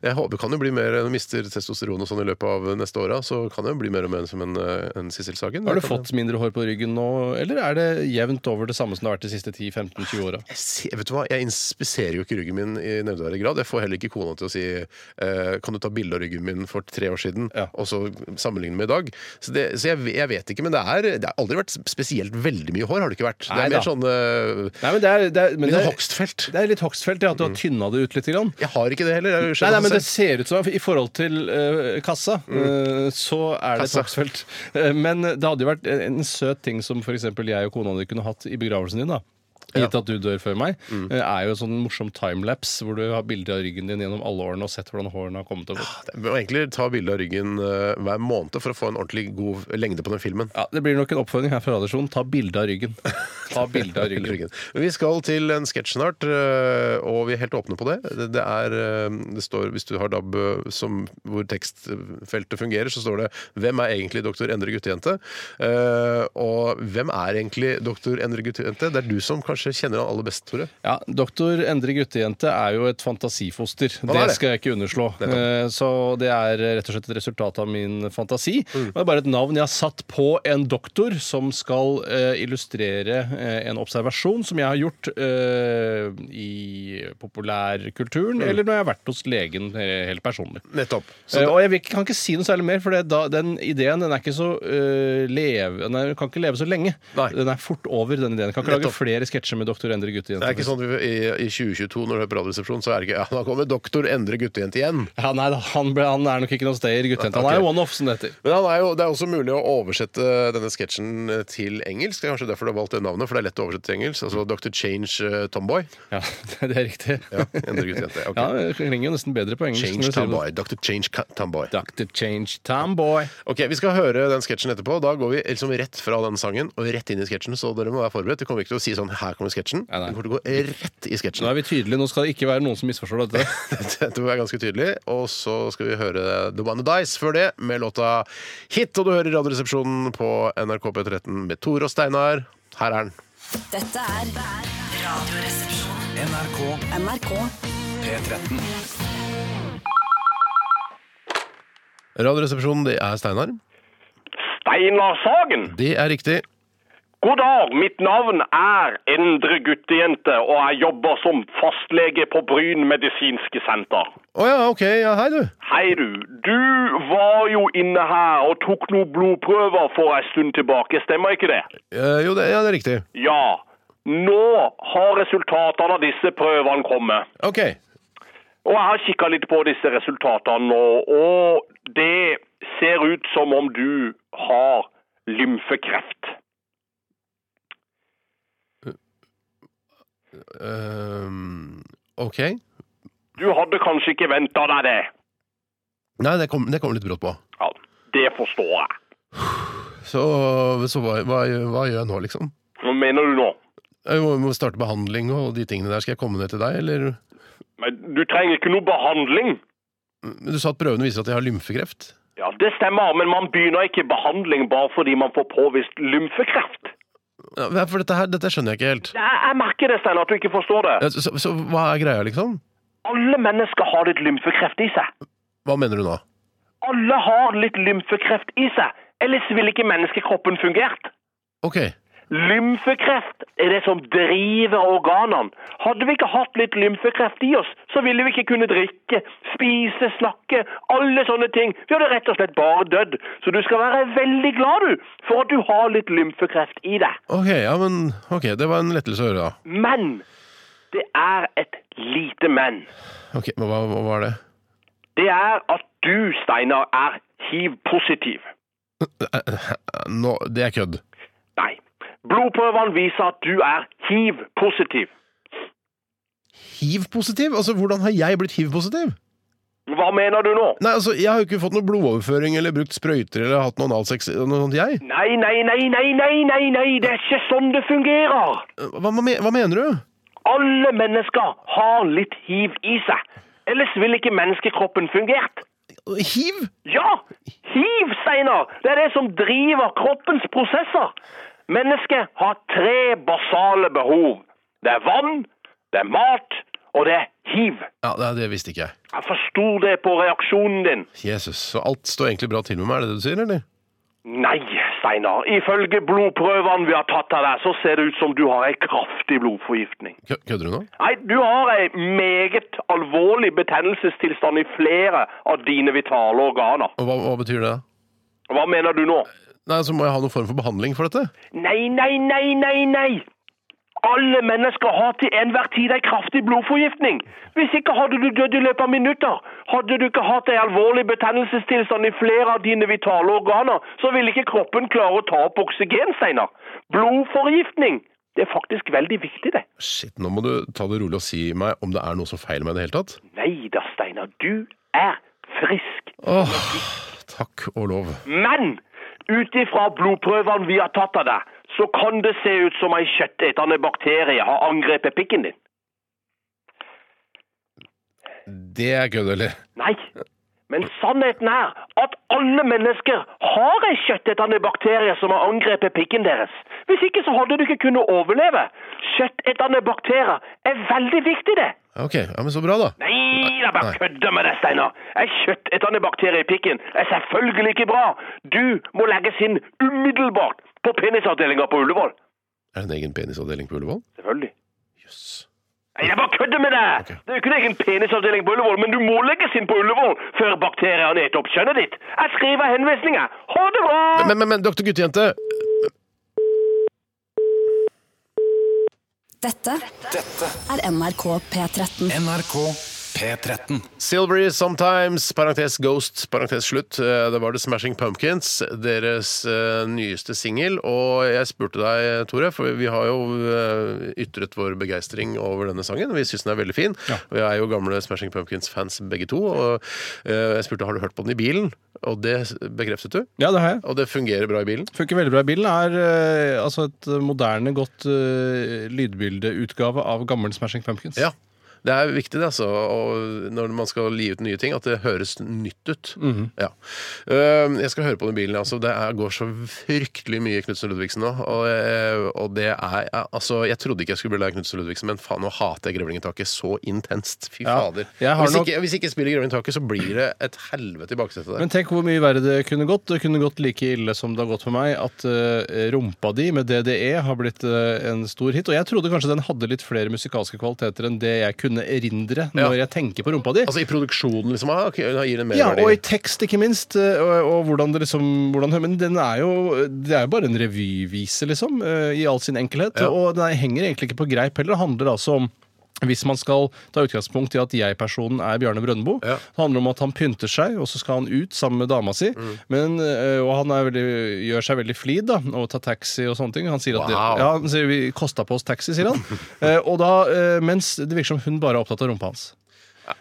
jeg håper kan jo bli mer Når jeg mister testosteron og sånn i løpet av neste åra, så kan jeg jo bli mer og mer som en, eh, en Sissel Sagen. Har du Det kan jeg- fått mindre hår på ryggen nå, eller er det jevnt over det samme som det har vært de siste 10-15-20 åra? Jeg ser- vet du hva, jeg inspiserer jo ikke ryggen min i nevneverdig grad. Jeg får heller ikke kona til å si eh, Kan du ta bilde av ryggen min for tre år siden, Ja. og så sammenligne med i dag? Så, det, så jeg, jeg vet ikke, men det, er, det har aldri vært spesielt veldig mye hår. har Det ikke vært Det Nei er da. mer sånn eh, Nei, men det er, det er, men litt Mm. det sånn er, hogstfelt. det er litt hogstfelt, ja, at du har tynna det ut lite grann. Jeg har ikke det heller. Jeg Nei, skjønner nei, men det selv. ser ut som i forhold til eh, kassa, eh, så er det et Kassa. Hoksfeldt. Eh, men det hadde jo vært en, en søt ting som f.eks. jeg og kona di kunne hatt i begravelsen din. da Gitt at du dør før meg, eh, er jo en sånn morsom timelapse hvor du har bilder av ryggen din gjennom alle årene og sett hvordan hårene har kommet og gått. Jeg må egentlig ta bilde av ryggen eh, hver måned for å få en ordentlig god lengde på den filmen. Ja, Det blir nok en oppfordring her fra Radioresepsjonen. Ta bilde av ryggen. Ta bilde av ryggen. Ryggen. Men vi skal til en sketsj snart, eh, og vi er helt åpne på det. Det, det er, eh, det står, Hvis du har DAB eh, som, hvor tekstfeltet fungerer, så står det 'Hvem er egentlig doktor Endre Guttejente?' Eh, Og hvem er egentlig doktor Endre Guttejente? Det er du som kanskje kjenner han aller best, Tore. Ja, Doktor Endre Guttejente er jo et fantasifoster. Han er Det det. skal jeg ikke underslå. Eh, Så det er rett og slett et resultat av min fantasi. Mm. Og Det er bare et navn jeg har satt på en doktor som skal eh, illustrere eh, en observasjon som jeg har gjort eh, i Mm. populærkulturen, eller når jeg har vært hos legen eh, helt personlig. Nettopp. Eh, og jeg vil, ikke- kan ikke si noe særlig mer, for det, da, den ideen den er ikke så eh, leve, den er, kan ikke leve så lenge. Nei. Den er fort over, den ideen. Kan ikke Nettopp. lage flere sketsjer med Dr. Endre Guttejenta. Det er ikke sånn at vi- i, i 2022 når du hører på Radioresepsjonen, så er det ikke ja, da kommer doktor Endre guttejente igjen. Ja, nei, da, han, ble, han er nok ikke noe sted i guttejenta. Han er Ok. jo one-off, som det heter. Men han er jo, det er også mulig å oversette denne sketsjen eh, til engelsk. Det er kanskje derfor du har valgt det navnet, for det er lett å oversette til engelsk. Altså Dr. Change eh, Tomboy. Ja, det er riktig. Ja, Endre guttejente. ok. Ja, det klinger jo nesten bedre på engelsk. når Change du sier det. Tomboy. Dr. Change Ka- Tomboy. Dr. Change Tomboy. Ok, Vi skal høre den sketsjen etterpå. Da går vi liksom rett fra den sangen og rett inn i sketsjen. Så dere må være forberedt. Det kommer ikke til å si sånn 'her kommer sketsjen'. Nei, nei. Det kommer til å gå rett i sketsjen. Nå er vi tydelige. Nå skal det ikke være noen som misforstår dette. Dette tror jeg er ganske tydelig. Og så skal vi høre The One Who Dies før det, med låta Hit. Og du hører Radioresepsjonen på NRK P13 med Tore og Steinar. Her er den. Dette er Radioresepsjonen. NRK NRK P13. Radioresepsjonen, det er Steinar. Steinar Sagen. Det er riktig. God dag, mitt navn er Endre Guttejente, og jeg jobber som fastlege på Bryn medisinske senter. Å ja, OK. Ja, hei, du. Hei du, du var jo inne her og tok noen blodprøver for en stund tilbake, stemmer ikke det? Eh, jo, det, ja, det er riktig. Ja, nå har resultatene av disse prøvene kommet. OK. Og jeg har kikket litt på disse resultatene nå, og det ser ut som om du har lymfekreft. Ehm, OK. Du hadde kanskje ikke ventet deg det. Nei, det kom, det kom litt brått på. Ja, det forstår jeg. Så, så hva, hva, hva gjør jeg nå, liksom? Hva mener du nå? Jeg må, må starte behandling og de tingene der. Skal jeg komme ned til deg, eller? Men Du trenger ikke noe behandling. Men Du sa at prøvene viser at jeg har lymfekreft. Ja, Det stemmer, men man begynner ikke behandling bare fordi man får påvist lymfekreft. Ja, men for dette her, dette skjønner jeg ikke helt. Jeg, jeg merker det, Steinar, at du ikke forstår det. Ja, Så, så, så hva er greia, liksom? Alle mennesker har litt lymfekreft i seg. Hva mener du nå? Alle har litt lymfekreft i seg. Ellers ville ikke menneskekroppen fungert. Ok, Lymfekreft er det som driver organene. Hadde vi ikke hatt litt lymfekreft i oss, så ville vi ikke kunne drikke, spise, snakke, alle sånne ting. Vi hadde rett og slett bare dødd. Så du skal være veldig glad, du, for at du har litt lymfekreft i deg. ok, ja, men ok, det var en lettelse å høre, da. Men det er et lite men. Ok, men hva, hva var det? Det er at du, Steinar, er hiv-positiv. Nå, det er kødd. Nei. Blodprøvene viser at du er hiv-positiv. Hiv-positiv? Altså, hvordan har jeg blitt hiv-positiv? Hva mener du nå? Nei, altså, jeg har jo ikke fått noe blodoverføring eller brukt sprøyter eller hatt noen analsex eller noe sånt, jeg. Nei, nei, nei, nei, nei, nei, nei, det er ikke sånn det fungerer. Hva, hva, me- hva mener du? Alle mennesker har litt hiv i seg. Ellers ville ikke menneskekroppen fungert. Hiv? Ja, hiv, Steinar! Det er det som driver kroppens prosesser. Mennesket har tre basale behov. Det er vann, det er mat, og det er hiv. Ja, nei, det visste ikke jeg. Jeg forsto det på reaksjonen din. Jesus, så alt står egentlig bra til med meg, er det det du sier, eller? Nei, Steinar. Ifølge blodprøvene vi har tatt av deg, så ser det ut som du har ei kraftig blodforgiftning. Kø- Kødder du nå? Nei, du har en meget alvorlig betennelsestilstand i flere av dine vitale organer. Og hva, hva betyr det? Hva mener du nå? Nei, altså, må jeg ha noen form for behandling for dette? Nei, nei, nei, nei, nei! Alle mennesker har til enhver tid en kraftig blodforgiftning. Hvis ikke hadde du dødd i løpet av minutter. Hadde du ikke hatt en alvorlig betennelsestilstand i flere av dine vitale organer, så ville ikke kroppen klare å ta opp oksygen, Steinar. Blodforgiftning, det er faktisk veldig viktig, det. Shit, nå må du ta det rolig og si meg om det er noe som feiler meg i det hele tatt. Nei da, Steinar. Du er frisk. Åh, takk og lov. Men ut ifra blodprøvene vi har tatt av deg, så kan det se ut som ei kjøttetende bakterie har angrepet pikken din. Det er kødd, eller? Nei. Men sannheten er at alle mennesker har ei kjøttetende bakterie som har angrepet pikken deres. Hvis ikke så hadde du ikke kunnet overleve. Kjøttetende bakterier er veldig viktig, det. Ok, ja, men så bra, da. Nei, jeg bare kødder med deg, Steinar. Ei kjøttetende bakterie i pikken er selvfølgelig ikke bra. Du må legges inn umiddelbart på penisavdelinga på Ullevål. Er det en egen penisavdeling på Ullevål? Selvfølgelig. Jøss. Jeg Nei, Jeg bare kødder med deg! Det er jo ikke en egen penisavdeling på Ullevål, men du må legges inn på Ullevål før bakteriene spiser opp kjønnet ditt. Jeg skriver henvisninger. Ha det bra! Men, men, men doktor guttejente, Dette, er NRK P13. NRK P13. Silvery Sometimes, parentes Ghost, parentes slutt. Eh, Det var The Smashing Pumpkins, deres eh, nyeste singel. Og jeg spurte deg, Tore, for vi har jo eh, ytret vår begeistring over denne sangen. Vi syns den er veldig fin. Vi er jo gamle Smashing Pumpkins-fans begge to. Og eh, jeg spurte har du hørt på den i bilen, og det bekreftet du. Ja, det har jeg. Og det fungerer bra i bilen. Funker veldig bra i bilen. Er eh, altså et moderne, godt eh, lydbildeutgave av gammel Smashing Pumpkins. Ja. Det er viktig det, altså, og når man skal li ut nye ting, at det høres nytt ut. Mhm. ja. Øhm, jeg skal høre på den bilen. Altså. Det er, går så fryktelig mye Knutsen Ludvigsen nå. Og, eh, og det er ja, Altså, jeg trodde ikke jeg skulle bli lei av Knutsen Ludvigsen, men faen, nå hater jeg Grevlingetaket så intenst. Fy Ja, fader. jeg har Hvis, nok- ikke, hvis ikke jeg spiller Grevlingetaket, så blir det et helvete i baksetet der. Men tenk hvor mye verre det kunne gått. Det kunne gått like ille som det har gått for meg at eh, rumpa di med DDE har blitt eh, en stor hit. Og jeg trodde kanskje den hadde litt flere musikalske kvaliteter enn det jeg kunne erindre når jeg tenker på rumpa di. altså i produksjonen, liksom. Ah, ok, da gir det en ja, merverdi. og i tekst, ikke minst. eh, Og, og hvordan det liksom hvordan, Men den er jo Det er jo bare en revyvise, liksom, eh, i all sin enkelhet. Og den er- henger egentlig ikke på greip heller. Det handler altså om hvis man skal ta utgangspunkt i at jeg-personen er Bjarne Brøndbo. Ja. Det handler om at han pynter seg, og så skal han ut sammen med dama si. Mm. Men, eh, og han er veldig, gjør seg veldig flid da, og tar taxi og sånne ting. Han sier at det, Wow. ja, han sier, vi kosta på oss taxi, sier han. Eh, og da, eh, mens det virker som hun bare er opptatt av rumpa hans.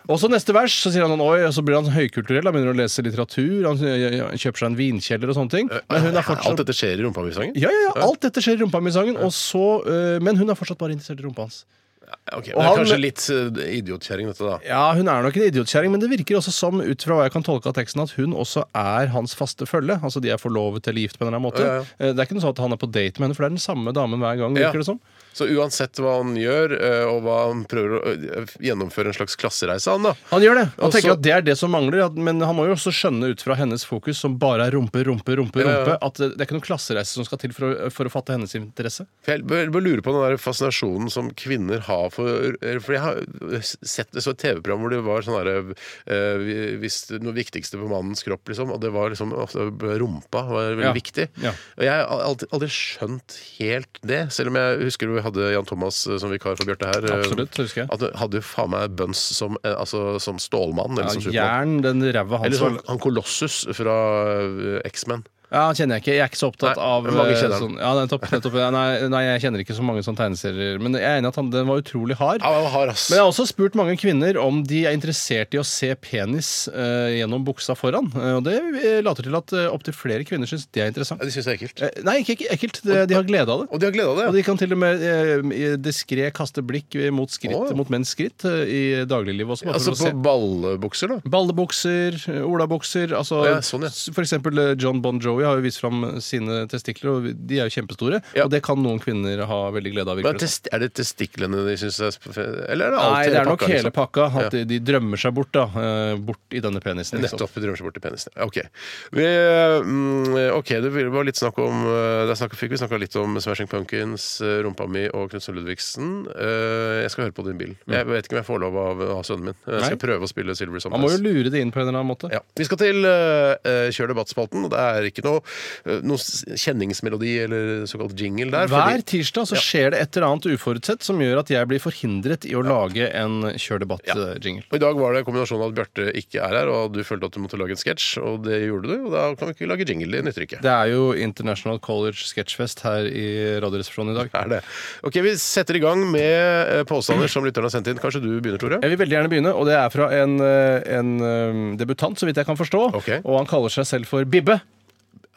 Og så neste vers så sier han sånn, oi, og så blir han høykulturell. Han begynner å lese litteratur, han eh, kjøper seg en vinkjeller og sånne ting. Men hun er Alt fortsatt dette skjer i rumpa mi-sangen? ja, Eh, ja, ja, alt dette skjer i rumpa mi i sangen, og så, eh, men hun er fortsatt bare interessert i rumpa hans. Ok, det Og er han- kanskje litt eh, idiotkjerring, dette, da. Ja, Hun er nok en idiotkjerring, men det virker også som ut fra hva jeg kan tolke av teksten, at hun også er hans faste følge. Altså De er forlovet eller gift på en eller annen måte. Ja, ja. Eh, Det er ikke noe sånn at han er på date med henne, for det er den samme damen hver gang. Ja. virker det som. Så uansett hva han gjør, eh, og hva han prøver å eh, gjennomføre en slags klassereise, han da. Han gjør det. Han Og tenker så- at det er det som mangler, at, men han må jo også skjønne ut fra hennes fokus, som bare er rumpe, rumpe, rumpe, ja. rumpe at det, det er ikke noen klassereise som skal til for å, for å fatte hennes interesse. For jeg bør, bør lure på den der fascinasjonen som kvinner har for For jeg har sett det så et TV-program hvor det var sånn derre eh, vi- hvis det- Noe viktigste på mannens kropp, liksom. Og det var liksom ofte rumpa var veldig Ja. viktig. Ja. Og jeg har aldri, aldri skjønt helt det. Selv om jeg husker vi hadde Jan Thomas eh, som vikar for Bjarte her. eh, Absolutt, husker jeg. At du hadde jo faen meg Buns som, eh, altså, som stålmann. Eller Ja, som Jern, supermann. den ræva Eller hans sånn, han Kolossus fra eh, X-Men. Ja, han kjenner jeg ikke. Jeg er ikke så opptatt Nei, av men mange eh, kjenner han. sånn, ja, nettopp, nettopp, ja, nei, nei, jeg kjenner ikke så mange sånne tegneserier. Men jeg er enig i at han, den var utrolig hard. Ja, han var hard, ass. Men jeg har også spurt mange kvinner om de er interessert i å se penis eh, gjennom buksa foran. Eh, og det eh, later til at uh, opptil flere kvinner syns det er interessant. Ja, de syns det er ekkelt. Eh, nei, ikke ikke ekkelt. Det, de har glede av det. Og de har glede av Og det. de kan til og med eh, diskré kaste blikk mot, skritt, Å, ja. mot menns skritt eh, i dagliglivet også. ja. bare Altså for å på se. ballebukser, da. Ballebukser, eh, olabukser altså, Å, ja, sånn, ja. s- For eksempel eh, John Bon Jovi har jo vist fram sine testikler, og de er jo kjempestore. Ja. Og det kan noen kvinner ha veldig glede av. Men virker det som. test, er det testiklene de syns er sp- Eller er det alt Nei, det er nok hele liksom? pakka. At de, de drømmer seg bort da eh, Bort i denne penisen. liksom. Nettopp. Drømmer seg bort til penisen. Ja, OK. Vi, mm, ok, det var litt snakk om eh, Der snakk, fikk vi snakka litt om Smashing Pumpkins, eh, rumpa mi og Knutsen Ludvigsen. Eh, Jeg skal høre på din bil. Jeg vet ikke om jeg får lov av, av sønnen min. Jeg skal Mm. Nei. prøve å spille Silver Man må jo Sometimes. lure det inn på en eller annen måte. Ja. Vi skal til eh, eh, Kjør debattspalten. og Det er ikke noe, eh, noe s- kjenningsmelodi eller såkalt jingle der. Hver fordi- tirsdag så skjer det et eller annet uforutsett som gjør at jeg blir forhindret i å lage en kjør eh, debatt-jingle. Og I dag var det kombinasjonen av at Bjarte ikke er her, og du følte at du måtte lage en sketsj, og det gjorde du, og da kan vi ikke lage jingle. Det nytter ikke. Det er jo International College Sketchfest her i Radioresepsjonen i dag. Er det. Ok, Vi setter i gang med eh, påstander som lytterne har sendt inn. Kanskje du begynner, Tore? Jeg vil veldig gjerne begynne, og det er fra en, eh, en eh, debutant, så vidt jeg kan forstå. Ok. Og han kaller seg selv for Bibbe.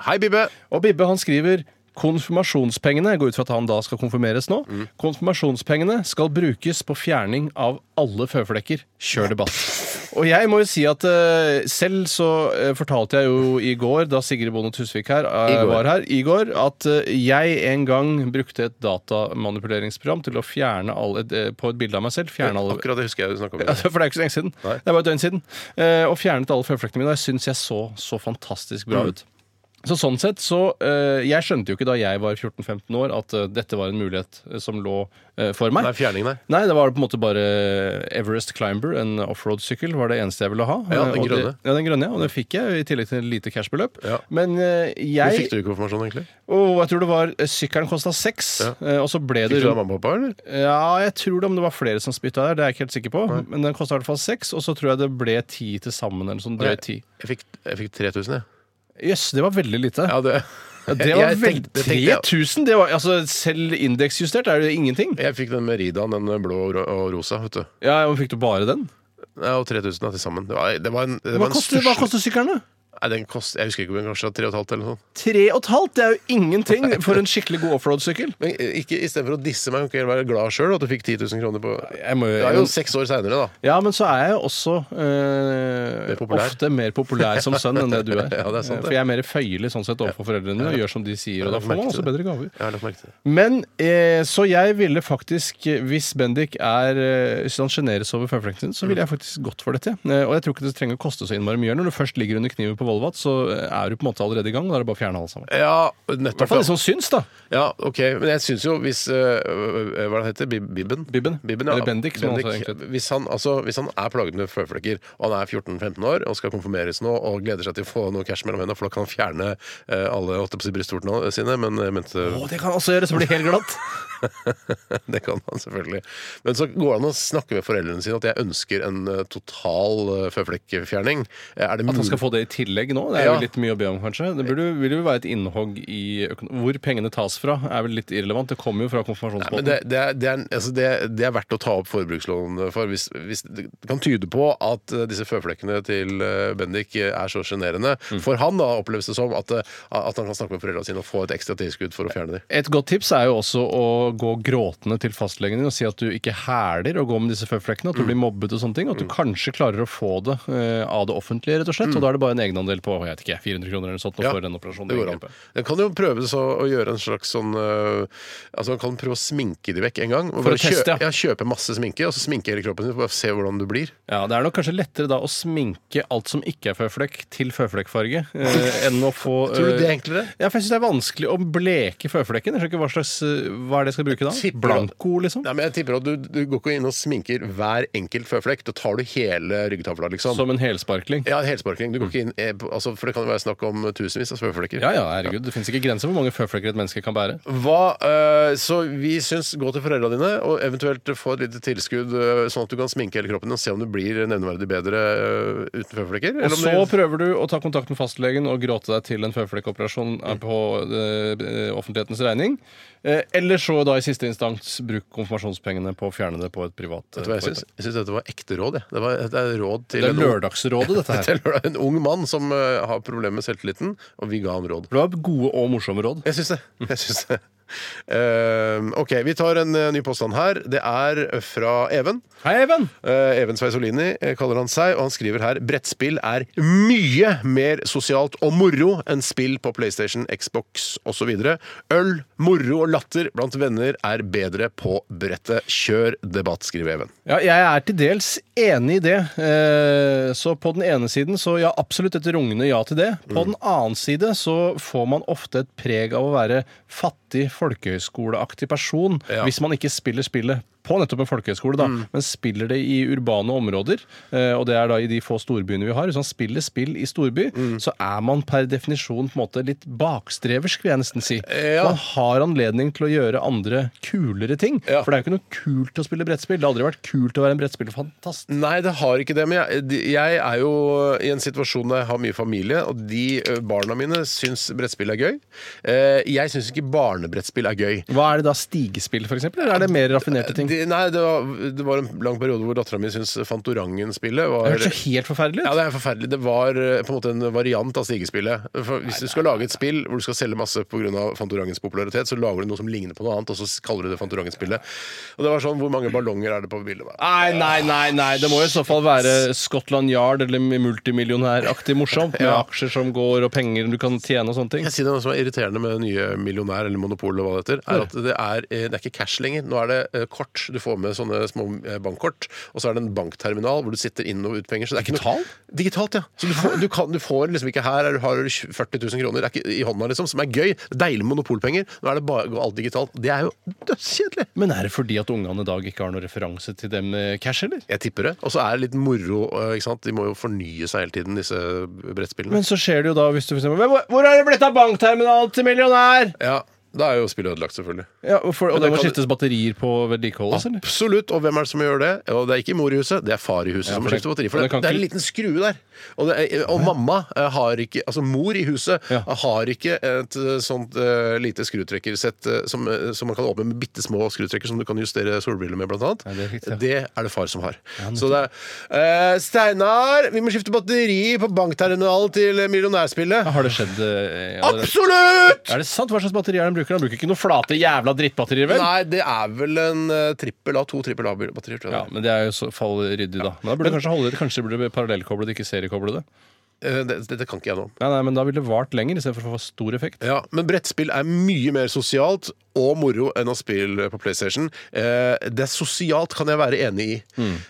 Hei, Bibbe! Og Bibbe han skriver Konfirmasjonspengene jeg går ut fra at han da skal konfirmeres nå Mm. Konfirmasjonspengene skal brukes på fjerning av alle føflekker. Kjør debatt. Og jeg må jo si at eh, selv så eh, fortalte jeg jo i går, da Sigrid Bonde Tusvik her, eh, I går. var her, i går, at eh, jeg en gang brukte et datamanipuleringsprogram til å fjerne alle, eh, på et bilde av meg selv, fjerne alle Akkurat det husker jeg du snakka om. ja, altså, for det er jo ikke så lenge siden. Nei. Mm. Det er bare et døgn siden. Eh, og fjernet alle føflekkene mine. Og jeg syns jeg så så fantastisk bra ut. Så sånn sett så eh, Jeg skjønte jo ikke da jeg var 14-15 år at eh, dette var en mulighet eh, som lå eh, for meg. Nei, fjerning, nei. Nei, det var på en måte bare eh, Everest Climber, en offroad-sykkel, var det eneste jeg ville ha. Ja, Eh, den og det- grønne. Ja, den grønne, ja, og det fikk jeg, i tillegg til en lite cashbeløp. Ja. Men eh, Hvor jeg fikk du konfirmasjon, egentlig? Åh, jeg tror det var eh, Sykkelen kosta seks, Ja. eh, og så ble det Fikk du det rundt av mamma og pappa, eller? ja, jeg tror det, om det var flere som spytta der. Det er jeg ikke helt sikker på. Men den kosta i hvert fall seks, og så tror jeg det ble ti til sammen. eller sånn drøyt ti. Jeg fikk, jeg fikk 3000, jeg. Jøss, det var veldig lite. Ja, det, Ja, det var Jeg vel tenkte- tenkte jeg- 3000! Det var, altså, selv indeksjustert er det ingenting. Jeg fikk den med Ridan, den blå og ro- og rosa, vet du. Ja, men Fikk du bare den? Ja, og 3000 da, til sammen. Det var, det var en, det Hva var en koster, hva stusslig- koster sykkelen, da? Nei, den kost, jeg husker ikke, men kanskje 3,5 eller noe sånt. Tre og et halvt? Det er jo ingenting for en skikkelig god offroad-sykkel. Men eh, ikke, istedenfor å disse meg, kan ikke jeg være glad sjøl at du fikk 10 000 kroner på Jeg må jo- Det er jo seks år seinere, da. Ja, men så er jeg også eh, Mer populær. ofte mer populær som sønn enn det du er. Eh, Ja, det er sant, det. For jeg er mer føyelig sånn sett overfor foreldrene mine og gjør som de sier. Og da Jeg får man merket også det. bedre gaver. Jeg har lagt merke til det. Men eh, Så jeg ville faktisk, hvis Bendik er eh, Hvis han sjeneres over føflekken sin, så ville jeg faktisk gått for dette. Eh, og jeg tror ikke det trenger å koste så innmari mye. Når du først ligger under kniven på Volvat, så eh, er du på en måte allerede i gang. Da er det bare å fjerne alt sammen. Ja, I hvert nettopp. fall ja. de som syns, da. Ja, ok, men jeg syns jo hvis øh, øh, Hva er det han heter? Bib Bibben? Bibben. ja. Eller Bendik, som han også egentlig heter. hvis, han, altså, hvis han er plaget med føflekker, og han er 14-15 år og skal konfirmeres nå og gleder seg til å få noe cash mellom hendene, for da kan han fjerne øh, alle holdt jeg på å si, brystvortene sine, men eh, jeg mente Å, det kan også gjøres! Det blir helt glatt. Det kan han selvfølgelig. Men så går det an å snakke med foreldrene sine at jeg ønsker en øh, total øh, føflekkfjerning. Er det At han skal mulig? få det i tillegg nå? Det er jo Ja. litt mye å be om, kanskje. Det burde, vil jo være et innhogg i økono- Hvor pengene tas fra, er vel litt irrelevant. Det kommer jo fra Nei, men konfirmasjonsbåten. det, det, er, det, er, en- altså det, det er verdt å ta opp forbrukslån for. Hvis, hvis det kan tyde på at eh, disse føflekkene til eh, Bendik eh, er så sjenerende Mm. for han, da oppleves det som at, eh, at han kan snakke med foreldrene sine og få et ekstra tilskudd for å fjerne dem. Et godt tips er jo også å gå gråtende til fastlegen din og si at du ikke hæler å gå med disse føflekkene, at Mm. du blir mobbet og sånne ting. At du kanskje klarer å få det eh, av det offentlige, rett og slett. Og da er det bare en egenandel på jeg vet ikke, 400 kroner eller sånt nå Mm. Ja, for den operasjonen. Det går an. Jeg kan jo prøve så, å gjøre en slags sånn eh, Altså Man kan prøve å sminke de vekk en gang. For å teste, ja. ja. Kjøpe masse sminke, og så sminke hele kroppen din for å se hvordan du blir. Ja, Det er nok kanskje lettere da å sminke alt som ikke er føflekk, til føflekkfarge, eh, enn å få Tror du det eh, er enklere? Ja, for jeg synes Det er vanskelig å bleke føflekken. Jeg skjønner ikke hva slags, eh, hva er det jeg skal bruke da? Tipper- Blanko, liksom? Nei, men jeg tipper at du, du går ikke inn og sminker hver enkelt føflekk. Da tar du hele ryggtavla, liksom. Som en helsparkling? Ja, helsparking. Du går ikke inn eh, på- altså, For det kan jo være snakk om tusenvis av svøveflekker. Ja ja, herregud. Det fins ikke grenser for hvor mange føflekker et menneske kan bære. Hva, eh, så vi syns gå til foreldra dine, og eventuelt få et lite tilskudd, eh, sånn at du kan sminke hele kroppen og se om du blir nevneverdig bedre eh, uten føflekker. Og eller om så du- prøver du å ta kontakt med fastlegen og gråte deg til en føflekkoperasjon eh, på eh, offentlighetens regning. Eh, Eller så da i siste instans bruk konfirmasjonspengene på å fjerne det på et privat Vet du hva jeg syns? Jeg syns dette var ekte råd. Jeg. Det, var, det er råd til Det er en ung- Lørdagsrådet, dette Dette her. er lørdag. en ung mann som eh, har problemer med selvtilliten, og vi ga ham råd. Det var gode og morsomme råd. Jeg syns det. Jeg syns det. Eh, OK, vi tar en eh, ny påstand her. Det er fra Even. Hei, Even! Eh, Even Sveisolini eh, kaller han seg, og han skriver her brettspill er mye mer sosialt og moro enn spill på PlayStation, Xbox osv. Øl, moro og latter blant venner er bedre på brettet. Kjør debatt, skriver Even. Ja, jeg er til dels enig i det. Eh, Så på den ene siden så ja, absolutt et rungende ja til det. På Mm. den annen side så får man ofte et preg av å være fattig folkehøyskoleaktig person Ja. Mm. hvis man ikke spiller spillet på nettopp en folkehøyskole, da, men spiller det i urbane områder. eh, Og det er da i de få storbyene vi har. Hvis man spiller spill i storby, Mm. så er man per definisjon på en måte litt bakstreversk, vil jeg nesten si. Ja. Man har anledning til å gjøre andre kulere ting. Ja. For det er jo ikke noe kult å spille brettspill. Det har aldri vært kult å være en brettspillfantast. Nei, det har ikke det. Men jeg, de- jeg er jo i en situasjon der jeg har mye familie, og de ø, barna mine syns brettspill er gøy. Eh, Jeg syns ikke barnebrettspill er gøy. Hva er det da? Stigespill, for eksempel? Eller er det mer raffinerte ting? Det, De, nei, det var, det var en lang periode hvor dattera mi syntes Fantorangen-spillet var hørtes så helt forferdelig ut. Ja, det er forferdelig. Det var eh, på en måte en variant av stigespillet. For hvis du skal lage et spill hvor du skal selge masse pga. Fantorangens popularitet, så lager du noe som ligner på noe annet, og så kaller du det Fantorangen-spillet. Og det var sånn Hvor mange ballonger er det på bildet? Bare, Nei, nei, nei, nei. Det må jo i så fall være Scotland Yard eller multimillionæraktig morsomt, med Ja. aksjer som går og penger du kan tjene og sånne ting. Jeg sier det noe som er irriterende med nye Millionær eller Monopol, og hva det heter, er at det er, eh, det er ikke cash lenger. Nå er det eh, kort. kort. Du får med sånne små eh, bankkort. Og så er det en bankterminal hvor du sitter inn og ut penger. Så det er ikke noe- Digital? Digitalt, ja. Så du får, du kan, du får liksom ikke her er, har du 40 000 kroner det er ikke, i hånda, liksom, som er gøy. Deilig med monopolpenger. Nå er det bare går alt digitalt. Det er jo dødskjedelig. Men er det fordi at ungene i dag ikke har noen referanse til dem eh, cash, eller? Jeg tipper det. Og så er det litt moro. eh, ikke sant? De må jo fornye seg hele tiden, disse brettspillene. Men så skjer det jo da hvis du for eksempel «Hvor- Hvor er det blitt av bankterminal til millionær? ja, da er jo spillet ødelagt, selvfølgelig. Ja, og for, og Men det det Ah. må kan- skiftes batterier på vedlikeholdet, eller? Absolutt. Og hvem er det som gjør det? Og det er ikke mor i huset, det er far i huset Ja, som for det- skifter batteri. og For det det, kan det er ikke- en liten skrue der. Og, det er, og mamma eh, har ikke Altså mor i huset Ja. har ikke et eh, sånt eh, lite skrutrekkersett eh, som, eh, som man kan åpne med bitte små skrutrekker som du kan justere solbriller med, blant annet. Ja, det er riktig, ja. det er det far som har. Så det er eh, Steinar, vi må skifte batteri på bankterminalen til millionærspillet. Har det skjedd eh, ja, det- Absolutt! Er det sant? Hva slags batterier de bruker? De bruker ikke noen flate jævla drittbatterier, vel? Nei, det er vel en eh, trippel A, to trippel A-batterier, tror jeg. det Ja, er. men det er jo i så fall ryddig, da. Men da burde kanskje holde det, kanskje burde det bli parallellkoblet, ikke seriekoble det. Eh, det- Dette kan ikke jeg noe om. Nei, nei, men da ville det vart lenger, istedenfor å få stor effekt. Ja, men brettspill er mye mer sosialt og moro enn å spille på PlayStation. Eh, det er sosialt kan jeg være enig i.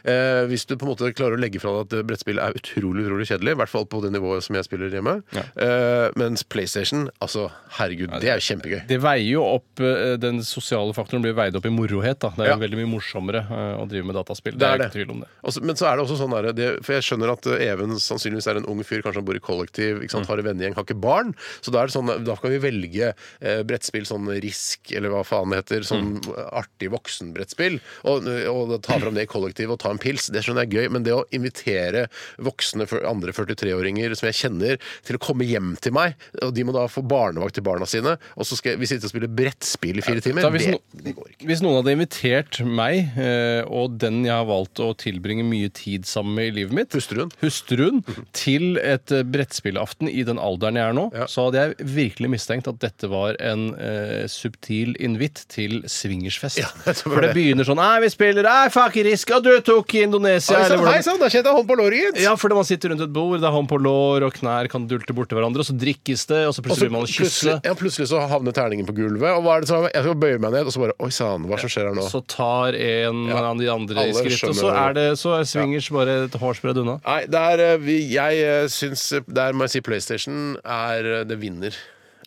Eh, hvis du på en måte klarer å legge fra deg at eh, brettspill er utrolig utrolig kjedelig, i hvert fall på det nivået som jeg spiller hjemme. Eh, mens PlayStation, altså herregud, det er jo kjempegøy. Det veier jo opp eh, Den sosiale faktoren blir veid opp i morohet. da Det er jo Ja. veldig mye morsommere eh, å drive med dataspill. Det Det er, det. er det. ikke tvil om det. Og så- men så er det også sånn der, det, For jeg skjønner at eh, Even sannsynligvis er en ung fyr, kanskje han bor i kollektiv, Mm. ikke sant? har en vennegjeng, har ikke barn. Så da er det sånn, da kan vi velge eh, brettspill, sånn Risk eller hva faen det heter. Sånn Mm. artig voksenbrettspill. Og, og da ta fram det i kollektiv og ta en pils, det skjønner jeg er gøy. Men det å invitere voksne, for- andre 43-åringer som jeg kjenner, til å komme hjem til meg, og de må da få barnevakt til barna sine, og så skal vi sitte og spille brettspill i fire timer, Da, hvis, det, no- det går ikke. hvis noen hadde invitert meg, eh, og den jeg har valgt å tilbringe mye tid sammen med i livet mitt, Puster hun? hustruen, til et eh, brettspillaften i den alderen jeg er nå, Ja. så hadde jeg virkelig mistenkt at dette var en eh, subtil invitt til swingersfest. Ja, jeg tror For det det. begynner sånn Nei, vi spiller Nei, fuck risk, og du tok i Indonesia, Hei eller sann, hvordan- hei sann, da kjente jeg hånd på låret, gitt! Ja, fordi man sitter rundt et bord, det er hånd på lår, og knær kan dulte borti hverandre, og så drikkes det, og så Og så plutselig vil man kysse. plutselig, ja, plutselig så havner terningen på gulvet, og hva er det som Jeg skal bøye meg ned, og så bare Oi sann, hva som skjer her nå? Så tar en Ja. av de andre i Alle skritt, og skjønner så det. er det så er swingers bare et hårsbredd unna. Nei, der, eh, vi, jeg eh, syns eh, Der må jeg si PlayStation er eh, Det vinner.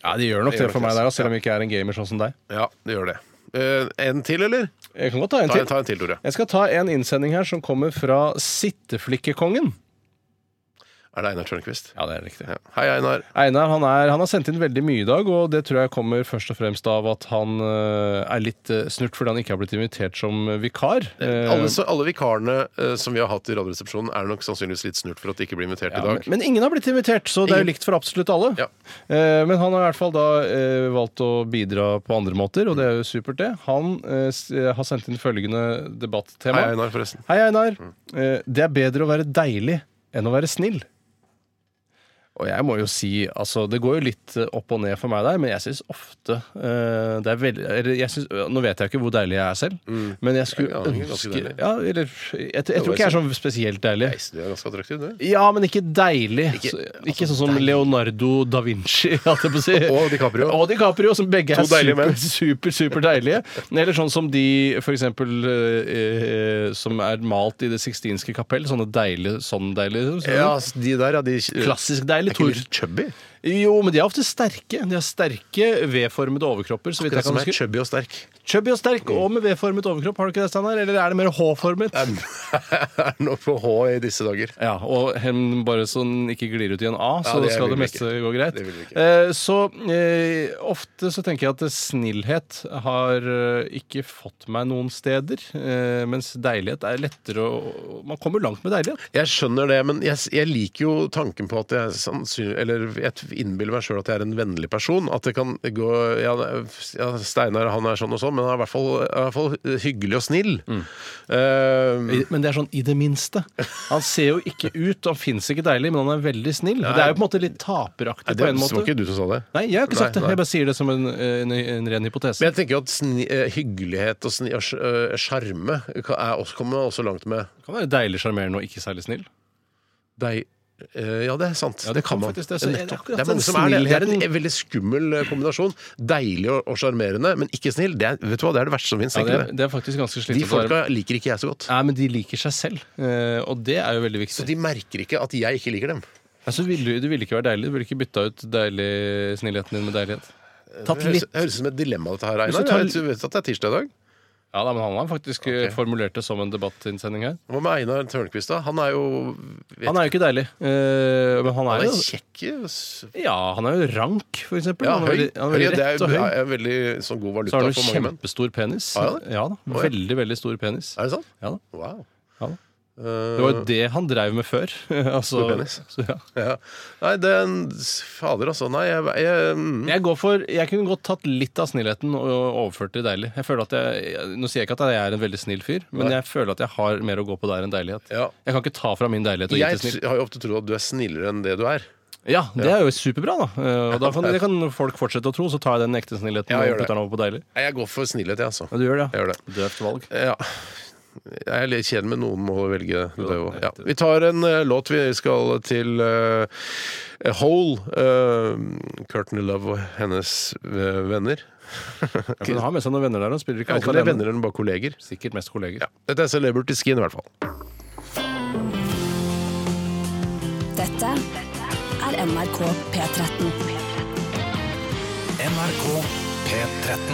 Ja, de gjør nok Det gjør det for nok meg det, der, altså, selv om jeg ikke er en gamer sånn som deg. Ja, det gjør det. Eh, en til, eller? Jeg kan godt ta en Ta, til. ta en til, Tore. Jeg skal ta en innsending her som kommer fra Sitteflikkekongen. Er det Einar Tørnquist? Ja, det er riktig. Ja. Hei, Einar. Einar han, er, han har sendt inn veldig mye i dag, og det tror jeg kommer først og fremst av at han eh, er litt eh, snurt fordi han ikke har blitt invitert som vikar. Eh, Alle, så, alle vikarene eh, som vi har hatt i Radioresepsjonen, er nok sannsynligvis litt snurt for at de ikke blir invitert i Ja, dag. Men, men ingen har blitt invitert, så det er jo Ingen. likt for absolutt alle. Ja. Eh, men han har i hvert fall da eh, valgt å bidra på andre måter, og det er jo supert, det. Han eh, s- eh, har sendt inn følgende debattema. Hei, Einar, forresten. Hei, Einar. Eh, det er bedre å være deilig enn å være snill. Og jeg må jo si, altså Det går jo litt eh, opp og ned for meg der, men jeg syns ofte eh, det er veldig, eller jeg synes, Nå vet jeg ikke hvor deilig jeg er selv, men jeg skulle Mm. Ja, du er ganske ønske deilig. ja, eller, jeg, jeg, tror ikke jeg er sånn spesielt deilig. Nei, Du er ganske attraktiv, du. Ja, men ikke deilig. Ikke- altså, Ikke, ikke sånn som Leonardo da Vinci. holdt jeg på å si. Og DiCaprio. Og DiCaprio, som begge To er deilige super, menn. super, super deilige. Eller sånn som de for eksempel eh, eh, som er malt i Det sixtinske kapell. Sånne deilige, sånn deilige. sånn- Ja, s- de der, ja. De, Klassisk Er deilig. ikke Tor. de chubby? Jo, men de er ofte sterke. De har sterke V-formede overkropper. så vidt Det jeg som Mm. kan er huske. chubby og sterk. Chubby og sterk, og med V-formet overkropp. Har du ikke det, Steinar? Eller er det mer H-formet? er det noe for H i disse dager. Ja, og hem bare så den ikke glir ut i en A, så det skal vil det vi meste ikke. gå greit. Det vil vi ikke. Eh, så eh, ofte så tenker jeg at snillhet har eh, ikke fått meg noen steder, eh, mens deilighet er lettere å Man kommer langt med deilighet. Jeg skjønner det, men jeg, jeg liker jo tanken på at jeg sannsynlig- Eller jeg innbiller meg sjøl at jeg er en vennlig person. At det kan gå ja, ja, Steinar han er sånn og sånn, men han er i hvert fall, i hvert fall hyggelig og snill. Eh, Men det er sånn Mm. i det minste. Han ser jo ikke ut, han fins ikke deilig, men han er veldig snill. Det er jo på en måte litt taperaktig det på en var måte. ikke du som sa det. Nei, jeg har ikke Nei, sagt det. nei. Jeg bare sier det som en, en, en ren hypotese. Men jeg tenker jo at sni, eh, hyggelighet og sni- og sj- eh, sjarme kan- er også- kommer man også langt med. det kan være deilig sjarmerende og ikke særlig snill. Deg, Eh, Ja, det er sant. Ja, det, det kom kan man. faktisk det. Så Nettopp. er det akkurat det er mange den som er det. Det er en snillheten. veldig skummel eh, kombinasjon. Deilig og- og sjarmerende, men ikke snill. Det er, vet du hva, det er det verste som fins. Ja, det, er- det er faktisk ganske de slitsomt. å være- folka liker ikke jeg så godt. Nei, men de liker seg selv, eh, og det er jo veldig viktig. Så de merker ikke at jeg ikke liker dem. Altså, ville, du- det ville ikke vært deilig. Du ville ikke bytta ut deilig snillheten din med deilighet. Tatt Det høres, litt det høres ut som et dilemma, dette her, Hvis du Einar. tar- Jeg vet- Du vet at det er tirsdag i dag. Ja, da, men han har faktisk eh, Ok. formulert det som en debattinnsending her. Hva med Einar Tørnquist, da? Han er jo vet, Han er jo ikke deilig, eh, men han han er er jo kjekk. s- Ja, han er jo rank, for eksempel. Ja, han er høy. veldig, han er Høy, veldig det er rett og høy. jo er veldig sånn Så god har valuta han jo for mange menn. kjempestor penis. Har han det? Ja da, Å, ja. Veldig, veldig stor penis. Er det sant? Ja da. Wow. Ja da. Eh, Det var jo det han dreiv med før. altså, Stor penis. Så, ja. ja. Nei, den Fader, altså. Nei, jeg, jeg mm. Jeg, går for, jeg kunne godt tatt litt av snillheten og overført til deilig. Jeg føler at jeg, jeg- nå sier jeg ikke at jeg er en veldig snill fyr, men jeg føler at jeg har mer å gå på der enn deilighet. Ja. Jeg kan ikke ta fra min deilighet og gi Jeg til snill. t- har jo ofte trodd at du er snillere enn det du er. Ja, Det er jo superbra, da. Eh, Og da kan, det kan folk fortsette å tro, så tar jeg den ekte snillheten Ja, gjør og det. putter den over på deilig. Nei, Jeg går for snillhet, jeg, altså. Ja, du gjør det, Jeg gjør det. Døvt valg. Ja. Jeg er litt kjedelig, men noen må velge det òg. Ja. Vi tar en eh, låt. Vi skal til eh, Hole. eh, Courtney Love og hennes eh, venner. Ja, men han har med seg noen venner der, han spiller ikke Jeg alt vet ikke om det er alene. venner eller bare kolleger. Sikkert mest kolleger. Dette er Celebrity Skin, i hvert fall. Dette er NRK P13. NRK P13.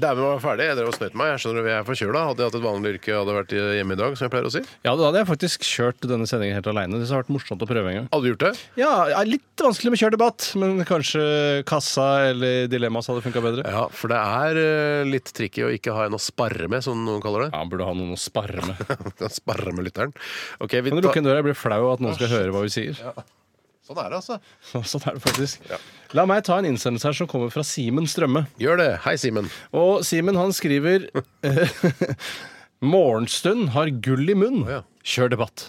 Dæven, jeg var ferdig. Jeg drev og snøt meg. Jeg skjønner vi er forkjøla. Hadde jeg hatt et vanlig yrke, hadde jeg vært hjemme i dag, som jeg pleier å si. Ja, da hadde jeg faktisk kjørt denne sendingen helt alene. Det har vært morsomt å prøve en gang. Hadde du gjort det? Ja, ja, litt vanskelig med kjør debatt, men kanskje kassa eller dilemmas hadde funka bedre. Ja, for det er eh, litt tricky å ikke ha en å sparre med, som noen kaller det. Ja, han burde ha noen å sparre med. sparre med lytteren. Ok, vi Kan du tar- lukke en dør? Jeg blir flau av at noen skal høre hva vi sier. Sånn er det, altså. Sånn er det faktisk. La meg ta en innsendelse her som kommer fra Simen Strømme. Gjør det. Hei, Simen. Og Simen han skriver eh, Morgenstund har gull i munn. ja. Kjør debatt.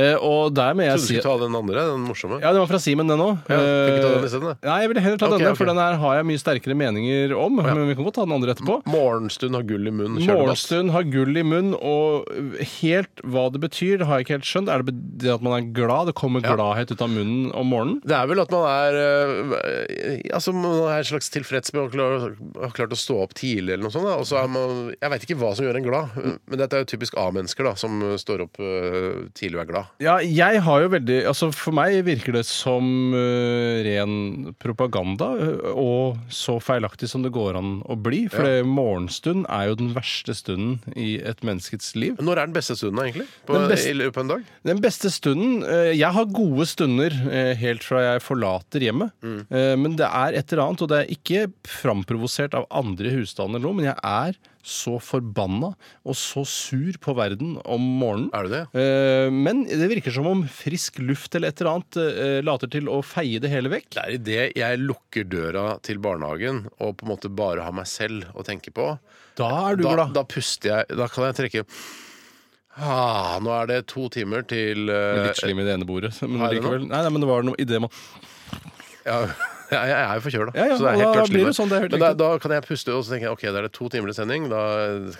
Eh, Og der må jeg Trodde du si skulle ta den andre, den morsomme. Ja, det var fra Simen, den òg. Ja, kan ikke ta den isteden, da? Nei, jeg ville heller ta Ok, denne, ok. for den her har jeg mye sterkere meninger om. Men vi kan godt ta den andre etterpå. Morgenstund har gull i munn. Kjør debatt. Morgenstund har gull i munn, og helt hva det betyr, det har jeg ikke helt skjønt. Er det det at man er glad? Det kommer gladhet ut av munnen om morgenen? Det er vel at man er øh, altså man er slags tilfreds med å klare, ha klart å stå opp tidlig, eller noe sånt. Da. Og så er man, jeg veit ikke hva som gjør en glad, men dette er jo typisk A-mennesker da, som står opp øh, tidlig og er glad. Ja, jeg har jo veldig Altså, for meg virker det som øh, ren propaganda, øh, og så feilaktig som det går an å bli. For det- morgenstund er jo den verste stunden i et menneskets liv. Når er den beste stunden, egentlig? På, Den beste- I løpet av en dag? Den beste stunden eh, Jeg har gode stunder eh, helt fra jeg forlater hjemmet. Mm. Eh, Men det er et eller annet, og det er ikke framprovosert av andre husstander nå, men jeg er så forbanna og så sur på verden om morgenen. Er du det? Eh, Men det virker som om frisk luft eller et eller annet eh, later til å feie det hele vekk. Det er idet jeg lukker døra til barnehagen og på en måte bare har meg selv å tenke på. Da er du da, glad. da puster jeg Da kan jeg trekke ah, Nå er det to timer til eh, Litt slim i det ene bordet, men Har jeg det nå? likevel. Nei, nei, men det var noe i det man ja, jeg, jeg er jo forkjøla, Ja, ja, så det er og helt da- klart da blir det slim. sånn, det er helt Men da, riktig. da kan jeg puste, og så tenker jeg ok, da er det to timer til sending. Da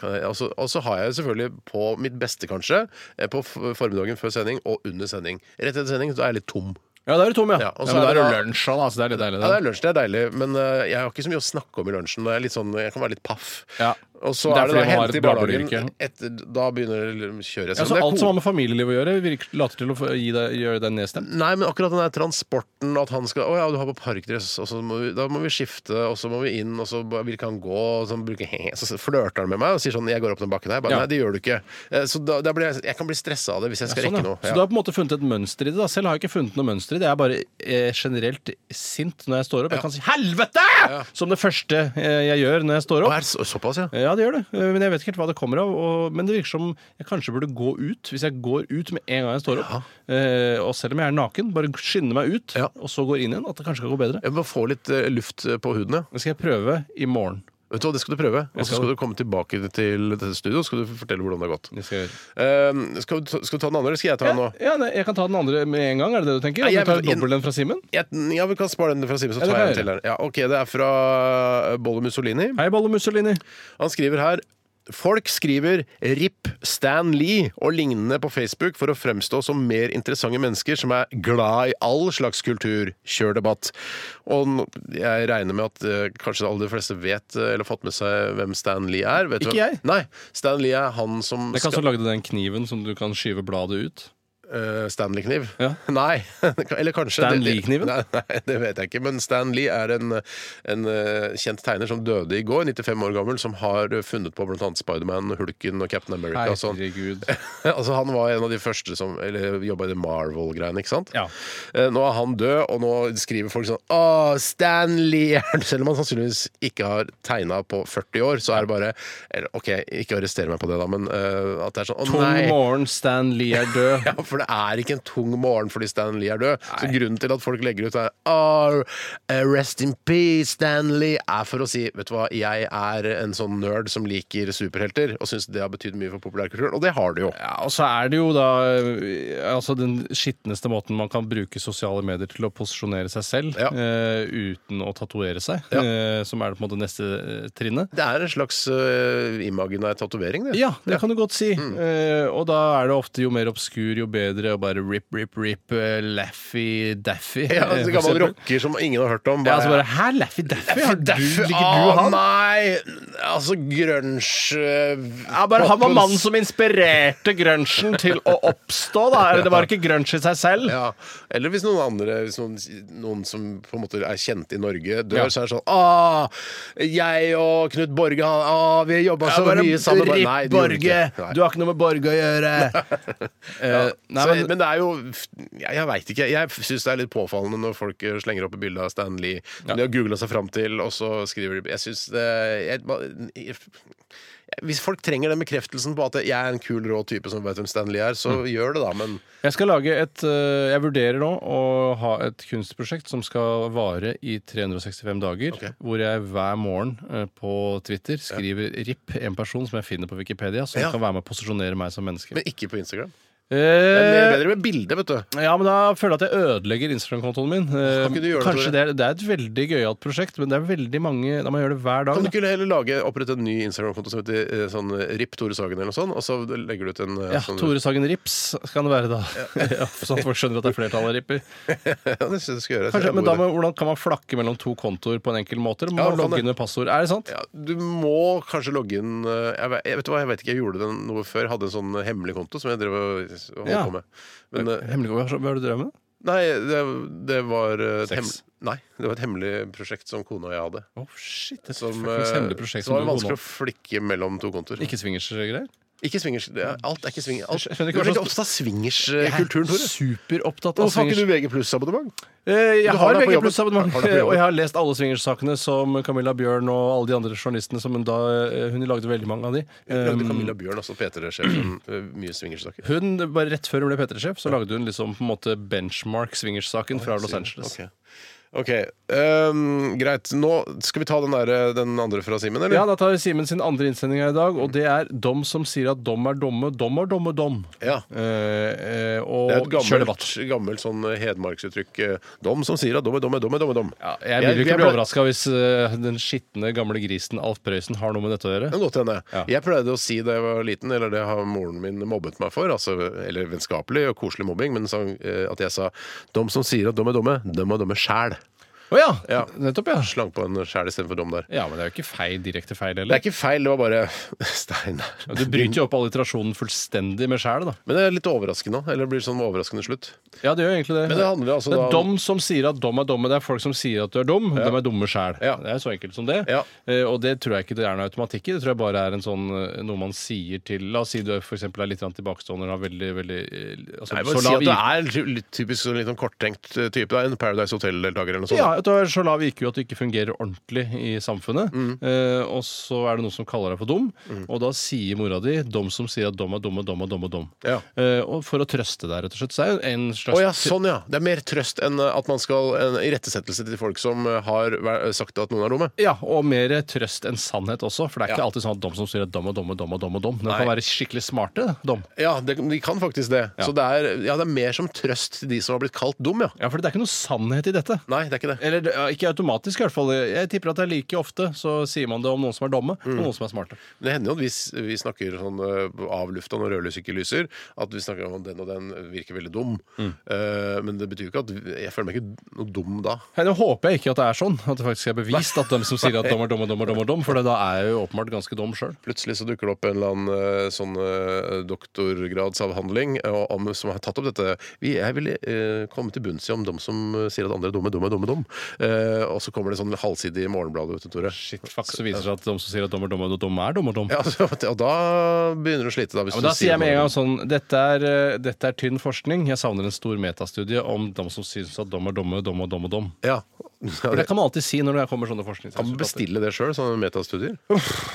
kan jeg, og, så, og så har jeg selvfølgelig på mitt beste, kanskje, eh, på f- formiddagen før sending og under sending. Rett etter sending så er jeg litt tom. Ja, da er du tom, ja. Ja, ja, og så men er da er det det da- lunsj, da. Så det er litt deilig. Ja, da. det er lunsj, det er deilig, men eh, jeg har ikke så mye å snakke om i lunsjen. da er Jeg, litt sånn, jeg kan være litt paff. Ja. Og så Det er er det da fordi man har hente i et barnehagen. bableyrke. Etter, da begynner sånn. kjøret. Ja, så alt som har med familieliv å gjøre, virker, later til å få- gi deg, gjøre deg nedstemt. Nei, men akkurat den der transporten og at han skal Å ja, du har på parkdress, og så må vi, da må vi skifte, og så må vi inn, og så bare vil ikke han gå, og så, bruker, jeg- så flørter han med meg og sier sånn 'Jeg går opp den bakken her.' Jeg Bare, Ja. Nei, det gjør du ikke. Eh, Så da, da blir jeg, jeg kan bli stressa av det hvis jeg skal Sånn, rekke ja. noe. Så du har på en måte funnet et mønster i det. da Selv har jeg ikke funnet noe mønster i det. Jeg er bare eh, generelt sint når jeg står opp. Jeg kan si 'helvete!' som det første eh, jeg gjør når jeg står Å, opp. er det så, såpass, ja. Ja, det gjør det. Eh, Men jeg vet ikke helt hva det kommer av. Og, men det virker som jeg kanskje burde gå ut. Hvis jeg går ut med en gang jeg står opp, eh, og selv om jeg er naken, bare skynder meg ut, Ja. og så går inn igjen, at det kanskje kan gå bedre. Jeg må få litt eh, luft eh, på huden, ja. Det skal jeg prøve i morgen. Vet du hva, Det skal du prøve. Og så skal skal du det. komme tilbake til dette studio og skal du fortelle hvordan det har gått. Det skal jeg gjøre. Eh, skal, du ta- skal du ta den andre, eller skal jeg ta den nå? Ja, ja, nei, jeg kan ta den andre med en gang, er det det du tenker? Nei, At jeg- jeg tar dobbel den fra Simen? Jeg, ja, Vi kan spare den fra Simen, Ja, det så tar kan jeg jeg den til her. Ja, ok, Det er fra eh, Bolle Mussolini. Hei, Bolle Mussolini. Han skriver her Folk skriver 'RIP Stan Lee' og lignende på Facebook for å fremstå som mer interessante mennesker som er glad i all slags kultur. Kjør debatt. Og nå- jeg regner med at eh, kanskje de aller fleste vet eh, eller har fått med seg hvem Stan Lee er. Vet du Ikke hva- jeg. Nei, Stan Lee er han som Det er ikke han som skal- lagde den kniven som du kan skyve bladet ut. Eh, Stanley-kniv? Ja. Nei. Eller kanskje Stan det- det- Lee-kniven? Nei, nei, det vet jeg ikke. Men Stan Lee er en, en eh, kjent tegner som døde i går, 95 år gammel, som har funnet på bl.a. Spiderman, Hulken og Captain America. og sånn. Herregud. altså, han var en av de første som Eller jobba i det Marvel-greiene, ikke sant? Ja. Eh, Nå er han død, og nå skriver folk sånn Å, Stanley! Selv om han sannsynligvis ikke har tegna på 40 år, så er det bare eller, OK, ikke arrester meg på det, da, men eh, at det er sånn Å, Tung nei! morgen, Stan Lee er død. Ja, for det er ikke en tung morgen fordi Stan Lee er død. Så grunnen til at folk legger ut er «Ah, Rest in peace, Stan Lee, er for å si Vet du hva, jeg er en sånn nerd som liker superhelter, og syns det har betydd mye for populærkulturen. Og det har det jo. Ja, og så er det jo da eh, altså den skitneste måten man kan bruke sosiale medier til å posisjonere seg selv Ja. eh, uten å tatovere seg, Ja. eh, som er på en måte neste eh, trinnet. Det er en slags uh, imaginær tatovering, det. Ja, det kan du godt si. Eh, og da er det ofte jo mer obskur, jo bedre. Og bare rip, rip, rip, eh, Laffy Daffy. Ja, eh, en for gammel eksempel. rocker som ingen har hørt om. Ja, altså bare Hæ, Laffy Daffy? Har du, Daffy- ligger du Ah, og han? Nei! Altså, grunge eh, Ja, bare Han var mannen som inspirerte grunchen til å oppstå, da. Eller Det var ikke grunge i seg selv. Ja. Eller hvis noen andre, hvis noen, noen som på en måte er kjent i Norge, dør, Ja. så er det sånn Åh, jeg og Knut Borge, han- åh, vi jobba så mye sammen. Bare, nei, det gjorde vi ikke. Nei. har ikke noe med Borge å gjøre. Ja. Eh, nei, så, men, men, det er jo Jeg, jeg veit ikke. Jeg syns det er litt påfallende når folk eh, slenger opp et bilde av Stan Lee som Ja. de har googla seg fram til, og så skriver de Jeg syns det jeg, ba- jeg, Hvis folk trenger den bekreftelsen på at jeg er en kul, rå type som veit hvem Stan Lee er, så Mm. gjør det, da. Men jeg skal lage et eh, Jeg vurderer nå å ha et kunstprosjekt som skal vare i 365 dager. Ok. Hvor jeg hver morgen eh, på Twitter skriver RIP, en person som jeg finner på Wikipedia, som Ja. kan være med å posisjonere meg som menneske. men ikke på Instagram. Det er mer- Eh, bedre med bilde, vet du. Ja, men da føler jeg at jeg ødelegger Instagram-kontoen min. Eh, Kan ikke du gjøre det, Tore? Kanskje det er, det er et veldig gøyalt prosjekt, men det er veldig mange Da må jeg gjøre det hver dag. Kan da. du ikke heller lage, opprette en ny Instagram-konto som heter eh, sånn, eh, RIP Tore Sagen eller noe sånt, og så legger du ut en eh, Ja, sånn, Tore Sagen Rips kan det være, da. Ja, sånn at folk skjønner at det er flertallet ripper. Ja, det synes jeg du skal gjøre. Jeg synes det Kanskje, er men en da god må, hvordan kan man flakke mellom to kontoer på en enkel måte? Eller må Ja, man man kan logge det. inn med passord? Er det sant? idé. ja, du må kanskje logge inn eh, jeg vet, jeg vet du hva, jeg vet ikke, jeg gjorde den noe før. Jeg hadde en sånn hemmelig konto som jeg drev og og holdt Ja. på med. Men eh, Hemmelig, hva hva har du drevet med? nei, det, det var eh, et Sex. hemmel- Nei, det var et hemmelig prosjekt som kona og jeg hadde. Oh, shit, et Som, fuckings eh, hemmelig prosjekt så som du var det går nå. vanskelig å flikke mellom to kontoer. Ikke, Ikke swingers-greier? swingers. Det er, alt er ikke swingers. Alt. Jeg skjønner ikke Du hva er veldig slags- opptatt av swingers-kulturen, Jeg er Tore. superopptatt av Hvorfor har swingers. ikke du VG pluss-abonnement? Eh, Jeg Du har har det på VG jobben. abonnement, Har det på jobben. og jeg har lest alle swingersakene som Camilla Bjørn og alle de andre journalistene som hun da eh, Hun lagde veldig mange av de. Lagde Um, Camilla Bjørn, altså P3-sjefen, eh, mye swingersaker? Hun, bare Rett før hun ble P3-sjef, så lagde hun liksom på en måte benchmark swingerssaken fra Los Angeles. Ok, Ok, ehm, greit. Nå skal vi ta den, der, eh, den andre fra Simen, eller? Ja, Da tar vi Simen sin andre innsending her i dag, og det er dom som sier at dom er domme. Dom er domme dom. Ja. Eh, eh, Det er og et kjør gammelt, debatt. gammelt sånn hedmarksuttrykk. eh, Dom som sier at dom er dom er dom er dom. er dom. Ja, jeg vil jo ikke jeg bli ble- overraska hvis eh, den skitne gamle grisen Alf Prøysen har noe med dette å gjøre. Det kan godt hende. Ja. Jeg pleide å si da jeg var liten, eller det har moren min mobbet meg for, altså, eller vennskapelig og koselig mobbing, men sa, eh, at jeg sa 'dom som sier at dom er domme, dem er domme sjæl'. Å ja. Ja. Nettopp, ja. Slang på en sjæl istedenfor dom der. Ja, Men det er jo ikke feil, direkte feil Det heller. er ikke feil, det var bare Steinar. Ja, Du bryter jo opp alliterasjonen fullstendig med sjæl, da. Men det er litt overraskende òg. Eller det blir sånn overraskende slutt. Ja, det gjør egentlig det. Men det handler altså det da er om- dom som sier at dom er dumme. Det er folk som sier at du er dum. De er dumme sjæl. Ja. Det er så enkelt som det. Ja. Eh, Og det tror jeg ikke det er noe automatikk i. Det tror jeg bare er en sånn, eh, noe man sier til La oss si du er, for eksempel, er litt grann tilbakestående og har veldig, veldig eh, altså, Nei, bare si at du er sånn. ty- litt typisk sånn litt sånn korttenkt eh, type. Da. En Paradise Hotel-deltaker eller noe sånt. Ja, at du har så lav IQ at du ikke fungerer ordentlig i samfunnet. Mm. Eh, og så er det noen som kaller deg for dum, og da sier mora di dom som sier at dom er dum og dum og dum og dum. Ja. Eh, og for å trøste deg, rett og slett. Så er det en slags Å ja, sånn ja. Det er mer trøst enn eh, at man skal en irettesettelse til folk som eh, har væ- sagt at noen er dumme. Ja, og mer trøst enn sannhet også. For det er ikke Ja. alltid sånn at dom som sier at dom og dom og dom og dom. og dom. De Nei. kan være skikkelig smarte, dom. Ja, det, de kan faktisk det. Ja. Så det er, ja, det er mer som trøst til de som har blitt kalt dum, ja. Ja, for det er ikke noe sannhet i dette. Nei, det er ikke det. eller ja, ikke automatisk i hvert fall. Jeg tipper at det er like ofte så sier man det om noen som er dumme, og noen som er smarte. Men Det hender jo at hvis vi snakker sånn eh, av lufta når rødlys ikke lyser, at vi snakker om at den og den virker veldig dum. Eh, men det betyr jo ikke at jeg føler meg ikke noe dum da. Hei, Nå håper jeg ikke at det er sånn, at det faktisk er bevist at de som sier at de er dumme, dumme, dumme, dumme, for da er jeg jo åpenbart ganske dum sjøl. Plutselig så dukker det opp en eller annen eh, sånn eh, doktorgradsavhandling eh, om, som har tatt opp dette. Vi, jeg vil eh, komme til bunns i om de som eh, sier at andre er dumme, dumme, dumme, dum. Eh, og så kommer det en sånn halvside i Morgenbladet, vet du, Tore. Shit, fuck, så viser det seg at de som sier at de er dumme, dumme, er dumme, dumme. Ja, altså, og da begynner du å slite, da. Hvis Ja, men da du sier jeg med en noe. gang sånn dette er, eh, dette er tynn forskning. Jeg savner en stor metastudie om de som syns at dom er dumme, dumme, dumme, dum. Ja. For ja det kan man alltid si når det kommer sånne kan man forskningsresultater. bestille det sjøl, sånne metastudier.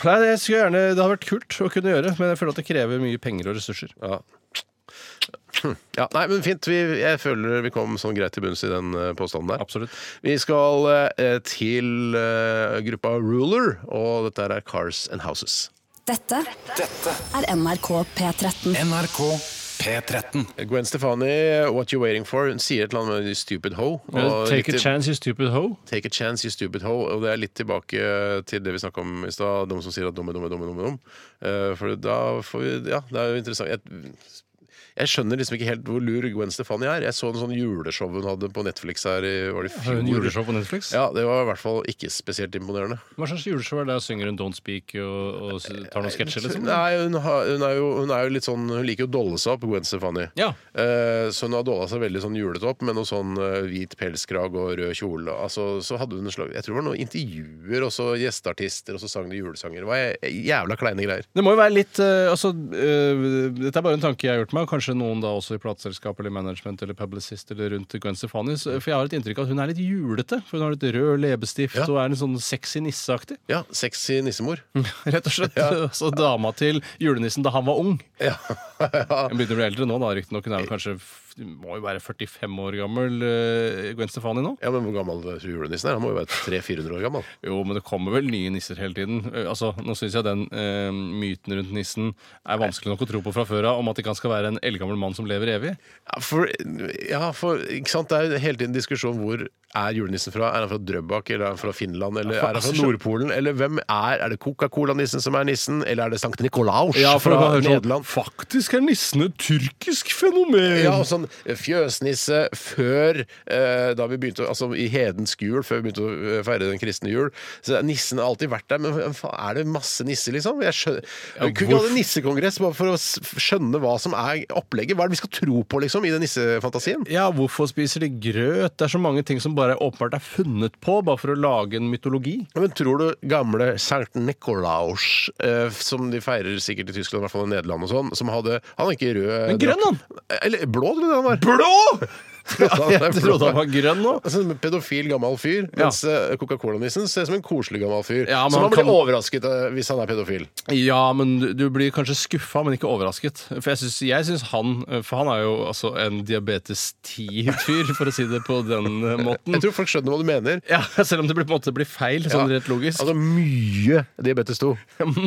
Nei, det skulle jeg gjerne Det hadde vært kult å kunne gjøre, men jeg føler at det krever mye penger og ressurser. Ja. Hm. ja. Nei, men fint. Vi, jeg føler vi kom sånn greit til bunns i den eh, påstanden der. Absolutt. Vi skal eh, til eh, gruppa Ruler, og dette her er Cars and Houses. Dette er NRK P13. NRK P13. Gwen Stefani, What You Waiting For, hun sier et eller annet med Stupid Ho. og Take a litt- chance, you stupid hoe. Take a chance, you stupid hoe. Og det er litt tilbake til det vi snakka om i stad, de som sier at dumme, dumme, dumme, dumme, dumme. Eh, For da får vi Ja, det er jo interessant. Jeg, jeg skjønner liksom ikke helt hvor lur Gwen Stefani er. Jeg så en sånn juleshow hun hadde på Netflix her i var det i Har hun fjor? juleshow på Netflix? Ja, det var i hvert fall ikke spesielt imponerende. Hva slags juleshow er det? Synger hun Don't Speak og, og s- tar noen sketsjer? Liksom? Nei, hun, har, hun, er jo, hun er jo litt sånn Hun liker jo å dolle seg opp, Gwen Stefani. Ja. Eh, så hun har dolla seg veldig sånn julete opp med noe sånn eh, hvit pelskrag og rød kjole. Altså, så hadde hun en slag, Jeg tror det var noen intervjuer og så gjesteartister, og så sang de julesanger. Det var jævla kleine greier. Det må jo være litt eh, altså, eh, Dette er bare en tanke jeg har gjort meg. og Kanskje noen da også i plateselskap eller management eller publicist eller rundt Gwen Stefani. så- For jeg har et inntrykk av at hun er litt julete. For hun har litt rød leppestift Ja. og er en sånn sexy nisseaktig. Ja, Sexy nissemor. Mm. Rett og slett. Så dama til julenissen da han var ung. Ja. ja. Hun begynner å bli eldre nå, da, riktignok. Hun er vel kanskje f- må jo være 45 år gammel, eh, Gwen Stefani nå. Ja, Men hvor gammel julenissen er? Han må jo være 300-400 år gammel. Jo, men det kommer vel nye nisser hele tiden. Eh, Altså, Nå syns jeg den eh, myten rundt nissen er vanskelig nok å tro på fra før av, om at det ikke han skal være en eldgammel mann som lever evig. Ja, for, ja, for ikke sant? Det er jo hele tiden diskusjon hvor er julenissen fra? Er han fra Drøbak, eller er han fra Finland, eller er han fra Nordpolen? Eller hvem er Er det Coca-Cola-nissen som er nissen, eller er det Sankt Nikolaus fra sånn Nederland? Faktisk er nissen et tyrkisk fenomen! Ja, og sånn fjøsnisse før eh, da vi begynte, å- altså i hedensk jul, før vi begynte å eh, feire den kristne jul. Så nissen har alltid vært der, men hvem faen, er det masse nisser, liksom? Jeg skjønner. Vi kunne ikke hvorf- hatt en nissekongress bare for å s- skjønne hva som er opplegget. Hva er det vi skal tro på, liksom, i den nissefantasien? Ja, hvorfor spiser de grøt? Det er så mange ting som bare åpenbart er funnet på, bare for å lage en mytologi. Men tror du gamle Sankt Nikolaus, eh, som de feirer sikkert i Tyskland, i hvert fall i Nederland og sånn, som hadde Han var ikke rød Men grønn, drakt. Eller blå, trodde jeg han var. Blå! Jeg trodde han var grønn nå. Altså, en pedofil gammel fyr, Ja. mens eh, Coca-Cola-nissen ser ut som en koselig gammel fyr. Ja, men så han man blir kan- Mm. overrasket eh, hvis han er pedofil. Ja, men du- du blir kanskje skuffa, men ikke overrasket. For jeg syns, jeg syns han For han er jo altså en diabetes 10-fyr, for å si det på den eh, måten. Jeg tror folk skjønner hva du mener. Ja, Selv om det blir, på en måte blir feil, sånn rett logisk. Altså mye diabetes 2.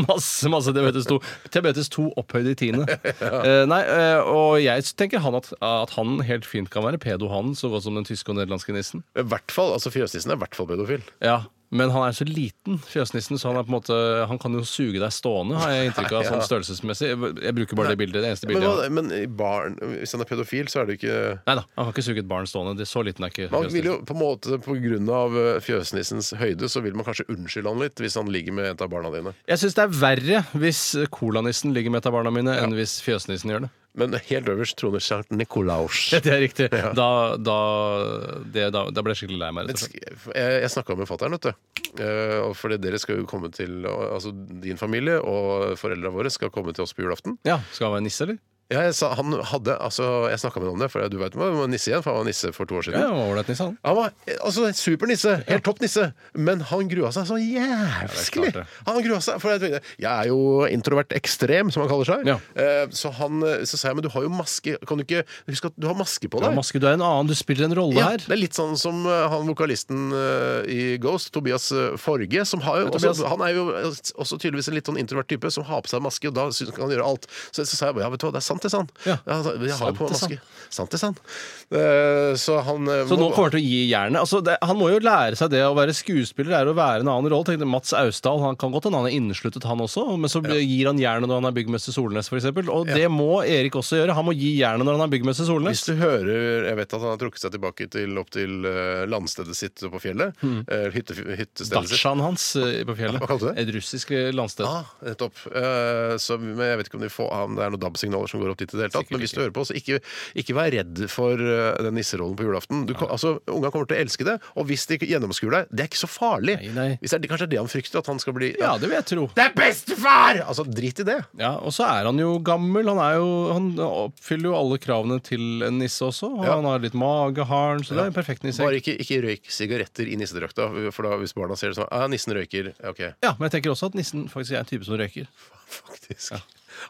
Masse, masse diabetes 2. Diabetes 2 opphøyd i tiende. Eh, nei, eh, og jeg tenker han at, at han helt fint kan være pedo, han, så godt som den tyske og nederlandske nissen. I hvert fall, altså Fjøsnissen er i hvert fall pedofil. Ja, men han er så liten, fjøsnissen, så han, er på en måte, han kan jo suge deg stående, har jeg inntrykk av, sånn størrelsesmessig. Jeg bruker bare det bildet, det eneste Men, bildet. jeg har. hva- men i barn, hvis han er pedofil, så er det ikke Neida, han kan ikke suge et barn stående. Det, så liten er ikke Man vil jo fjøsnissen. på en måte på grunn av eh, fjøsnissens høyde, så vil man kanskje unnskylde han litt hvis han ligger med et av barna dine. Jeg syns det er verre hvis colanissen ligger med et av barna mine, enn hvis fjøsnissen gjør det. Men helt øverst troner Sankt Nikolaus. Det er riktig. Da, da, det, da, da ble jeg skikkelig lei meg. rett og slett. Jeg, jeg snakka med fatter'n, vet du. Eh, og Fordi dere skal jo komme til Altså din familie og foreldra våre skal komme til oss på julaften. Ja, Skal han være nisse, eller? Ja, jeg sa, han hadde Altså, jeg snakka med ham om det, for du veit hva nisse igjen, for han var nisse for to år siden. Ja, ålreit nisse, han. Han var eh, altså, supernisse, helt topp nisse, men han grua seg så jævskelig. klart det. han grua seg, for jeg, tenkte, jeg er jo introvert ekstrem, som han kaller seg. Ja. Eh, så, han, eh, så sa jeg men du har jo maske. Kan du ikke Husk at du har maske på Du er deg. maske, du er en annen, du spiller en rolle Ja, her. det er litt sånn som eh, han vokalisten eh, i Ghost, Tobias eh, Forge, som har jo også, Tobias. han er jo også tydeligvis en litt sånn introvert type som har på seg maske, og da syns han kan gjøre alt. Så, så sa jeg bare, ja, vet du hva, det er sant til sand. Ja. Ja, altså, jeg har jo Sant på til sand. maske. Sant til sand. Eh, Så han eh, Så nå må- kommer han til å gi jernet. Altså, det, han må jo lære seg det å være skuespiller er å være en annen rolle. Tenkte Mats Austdal han kan godt hende han er innesluttet, han også, men så gir han jernet når han er byggmester Solnes, f.eks. Og det må Erik også gjøre. Han må gi jernet når han er byggmester Solnes. Hvis du hører Jeg vet at han har trukket seg tilbake til, opp til eh, landstedet sitt på fjellet. Mm. eh, Hytte, hyttestedet sitt. Datsjaen hans eh, på fjellet. Hva kalte du det? Ah. Et russisk eh, landsted. Ja, nettopp. Eh, så, men jeg vet ikke om de får, om det er noen DAB-signaler som går opp dit i det hele tatt. Men hvis du hører på, så ikke, ikke vær redd for eh, den nisserollen på julaften. Du, kan- altså, Ungene kommer til å elske det, og hvis de gjennomskuer deg, det er ikke så farlig. Nei, nei. Hvis det er, kanskje det er det han frykter, at han skal bli Ja, det vil jeg tro. Det er bestefar! Altså, drit i det. Ja, Og så er han jo gammel. Han, er jo, han oppfyller jo alle kravene til en nisse også. Og Ja. Han har litt mage, har han, så det er en perfekt nisse. Bare ikke, ikke røyk sigaretter i nissedrakta, for da hvis barna ser det sånn Ja, nissen røyker. Ja, OK. Ja, Men jeg tenker også at nissen faktisk er en type som røyker. Faktisk.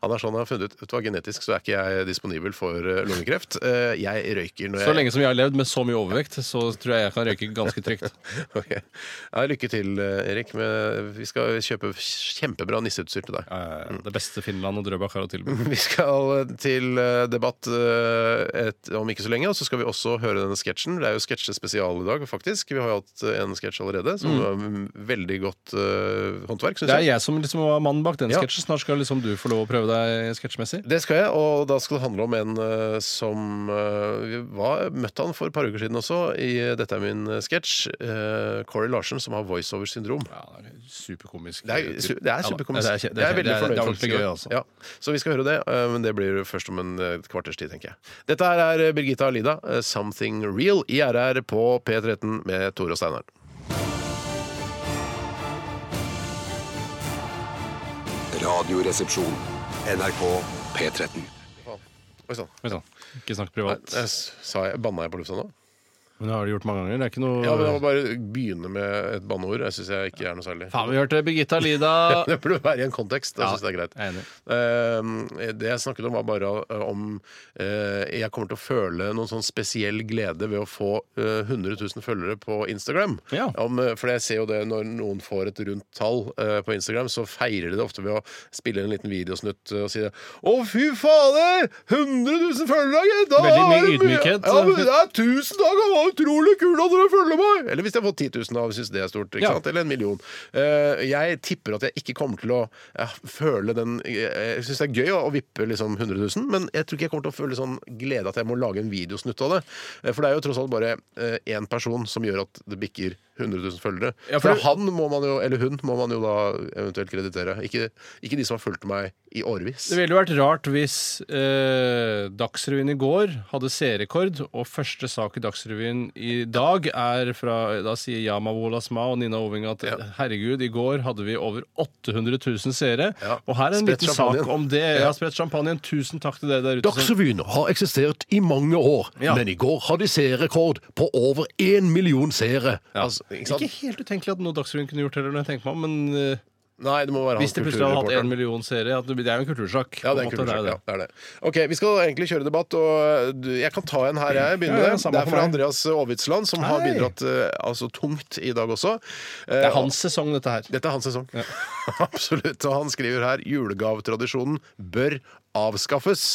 Han er sånn han har funnet ut Vet du hva, genetisk så er ikke jeg disponibel for eh, lungekreft. Eh, Jeg røyker når jeg Så lenge som jeg har levd med så mye overvekt, så tror jeg jeg kan røyke ganske trygt. Ok. Ja, lykke til, eh, Erik. Med, vi skal kjøpe kjempebra nisseutstyr til deg. Eh, Det beste Finland og Drøbak har å tilby. Vi skal eh, til eh, debatt eh, et, om ikke så lenge, og så skal vi også høre denne sketsjen. Det er jo sketsjespesial i dag, faktisk. Vi har jo hatt eh, en sketsj allerede, som var mm, veldig godt eh, håndverk, Det syns er jeg. jeg som liksom var mannen bak den Ja. sketsjen. Snart skal liksom du få lov å prøve deg sketsjmessig. Det skal jeg, og da skal det handle om en eh, som eh, vi var, møtte han for et par uker siden også, i eh, Dette er min eh, sketsj. eh, Corey Larsen, som har voiceover-syndrom. Ja, det er superkomisk. Det er, su- det er superkomisk. Ja, det er, det er, veldig fornøyd det er for ordentlig det. gøy, altså. Ja. Så vi skal høre det, eh, men det blir først om en eh, et kvarters tid, tenker jeg. Dette her er Birgitta Alida, eh, 'Something Real', i RR på P13 med Tore og Steinar. Radioresepsjon. NRK P13. Oi sann. Oi sann. Ikke snakk Nei, privat. jeg s- Sa jeg, banna jeg på lufta nå? Eh. Men det har du gjort mange ganger. Det er ikke noe Ja, men jeg må bare begynne med et banneord. Jeg syns jeg ikke er noe særlig. Faen, vi hørte Birgitta Lida. Det burde være i en kontekst. Da Ja, synes jeg det er greit. jeg er enig. Eh, det jeg snakket om, var bare eh, om eh, Jeg kommer til å føle noen sånn spesiell glede ved å få eh, 100 000 følgere på Instagram. Ja. Om, eh, for jeg ser jo det når noen får et rundt tall eh, på Instagram, så feirer de det ofte ved å spille en liten videosnutt eh, og si det. Å, fy fader! 100 000 følgere! gitt! Da Veldig mye er det ydmykhet. eh, Ja, men det er 1000 dager! Hva utrolig kult at dere følger meg! Eller hvis de har fått 10 000 av, syns det er stort. Ikke Ja. sant? Eller en million. Eh, jeg tipper at jeg ikke kommer til å eh, føle den eh, Jeg syns det er gøy å, å vippe liksom 100 000, men jeg tror ikke jeg kommer til å føle sånn glede at jeg må lage en videosnutt av det. Eh, For det er jo tross alt bare eh, én person som gjør at det bikker 100 000 følgere. Ja, for for du- han må man jo, eller hun må man jo da eventuelt kreditere. Ikke, ikke de som har fulgt meg i årevis. Det ville jo vært rart hvis eh, Dagsrevyen i går hadde seerrekord, og første sak i Dagsrevyen i dag er fra Da sier Yama Wolasma og Nina Ovinga at herregud, i går hadde vi over 800 000 seere. Ja. Og her er en Spredt liten champagnen. sak om det. Jeg har spredt champagnen. Tusen takk til dere der ute. som- Dagsrevyen har eksistert i mange år, Ja. men i går hadde de seerrekord på over én million seere. Ja. Altså, ikke sant? Ikke helt utenkelig at noe Dagsrevyen kunne gjort heller, når jeg tenker meg om, men eh, Nei, det må være han hvis de plutselig hadde hatt kulturreporteren. én million seere at Det det er jo en kultursak. Ja, det er en på en måte, kultursak. det. Ja, det er det. Ok, Vi skal egentlig kjøre debatt, og du- jeg kan ta en her. jeg begynner Ja, ja, med det. samme Det er for fra meg. Andreas Aavitsland, som har Hei. bidratt eh, altså, tungt i dag også. Eh, Det er hans sesong, dette her. Dette er hans sesong. Absolutt. Og han skriver her julegavetradisjonen bør avskaffes.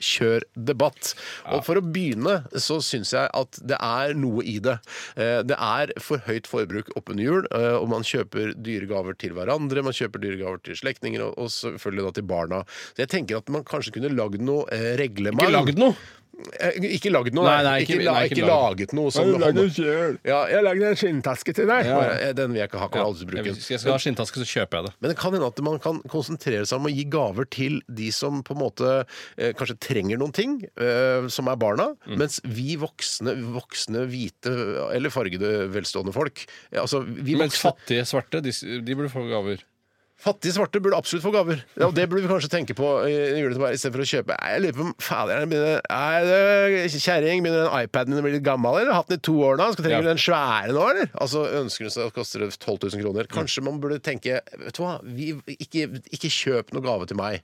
Kjør debatt. Og for å begynne så syns jeg at det er noe i det. Eh, Det er for høyt forbruk oppunder jul, eh, og man kjøper dyre gaver til hverandre, man kjøper dyre gaver til slektninger, og- og selvfølgelig da til barna. Så jeg tenker at man kanskje kunne lagd noe eh, reglement. Ikke lagd noe! Eh, Ikke lagd noe, Nei, nei. nei, ikke, ikke- la, nei, ikke ikke, laget noe sånn. Ja, jeg lagde en skinntaske til deg. Ja. Bare, eh, Den vil jeg ikke ha, kan jeg aldri Jeg, bruke. den. hvis jeg skal ha skinntaske, så kjøper jeg det. Men det kan hende at man kan konsentrere seg om å gi gaver til de som på en måte eh, kanskje trenger noen ting, eh, som er barna, Mm. mens vi voksne, voksne hvite eller fargede velstående folk eh, altså, vi Mens voksne, fattige svarte, de, de burde få gaver. Fattige svarte burde absolutt få gaver. Ja, og det burde vi kanskje tenke på eh, i i juletid, istedenfor å kjøpe Nei, Jeg lurer på om faderen begynner Nei, det- kjerring, begynner den iPaden din å bli litt gammel, eller? Har hatt den i to år nå? Skal trenge Ja. den svære nå, eller? Altså, ønsker hun seg at det koster 12 000 kroner? Kanskje man burde tenke Vet du hva, vi, ikke, ikke kjøp noe gave til meg.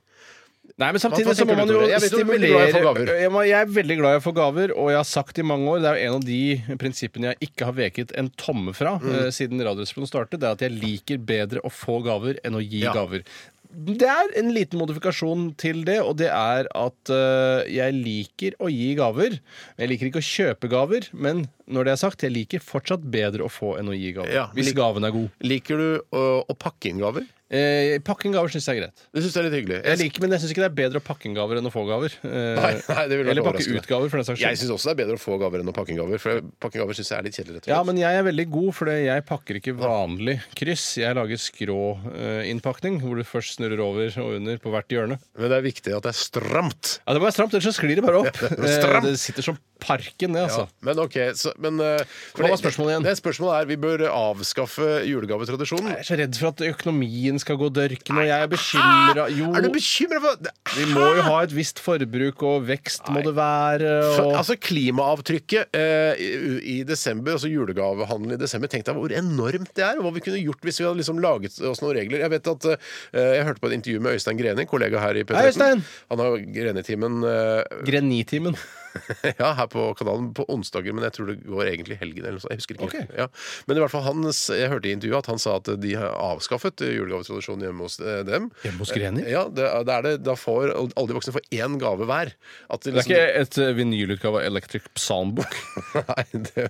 Nei, men samtidig Hva- hva så må tenker man du, jo Tore? Jeg vet du er veldig glad i å få gaver. Jeg må- jeg er veldig glad i å få gaver, og jeg har sagt i mange år, det er jo en av de prinsippene jeg ikke har veket en Mm. tomme fra eh, siden Radioresepsjonen startet, det er at jeg liker bedre å få gaver enn å gi Ja. gaver. det er en liten modifikasjon til det, og det er at eh, jeg liker å gi gaver. Jeg liker ikke å kjøpe gaver, men når det er sagt, jeg liker fortsatt bedre å få enn å gi gaver. Ja, hvis lik- gaven er god. Liker du å, å pakke inn gaver? Eh, pakke inn gaver syns jeg er greit. Det syns jeg er litt hyggelig. Jeg liker, men jeg syns ikke det er bedre å pakke inn gaver enn å få gaver. Eh, Nei, nei, det ville vært eller pakke overraskende. ut gaver, for den saks Jeg skyld. syns også det er bedre å få gaver enn å pakke inn gaver. For pakke inn gaver syns jeg er litt kjedelig. rett og Ja, slett. men jeg er veldig god, for jeg pakker ikke vanlig kryss. Jeg lager skråinnpakning, hvor du først snurrer over og under på hvert hjørne. Men det er viktig at det er stramt. Ja, Det må være stramt, ellers så sklir det bare opp. Ja, det er Eh, stramt. det sitter som parken, det, altså. Ja, men ok, så, men eh, for Hva var det- spørsmålet igjen? Det, spørsmålet er, Vi bør avskaffe julegavetradisjonen. Jeg er så redd for at økonomien skal gå dørken, og jeg Ah! er bekymra. Jo, ah! Er du bekymra for det- vi må jo ha et visst forbruk, og vekst må det være. For, Og... altså Klimaavtrykket eh, i, i desember, altså julegavehandelen i desember Tenk deg hvor enormt det er, og hva vi kunne gjort hvis vi hadde liksom laget oss noen regler. Jeg vet at eh, jeg hørte på et intervju med Øystein Greni, kollega her i Hei, Øystein! P13. Han har Grenitimen eh, Grenitimen. ja, her på kanalen på onsdager, men jeg tror det går egentlig helgen eller noe sånt. Jeg husker ikke. Ok. Ja. Men i hvert fall han, jeg hørte i intervjuet at han sa at de har avskaffet julegavetradisjonen hjemme hos eh, dem. Hjemme hos Greni? Ja, det, er- det er det. Da får alle de voksne får én gave hver. At de Det er liksom- ikke et eh, vinylutgave av Electric Psalmbok. Nei, det,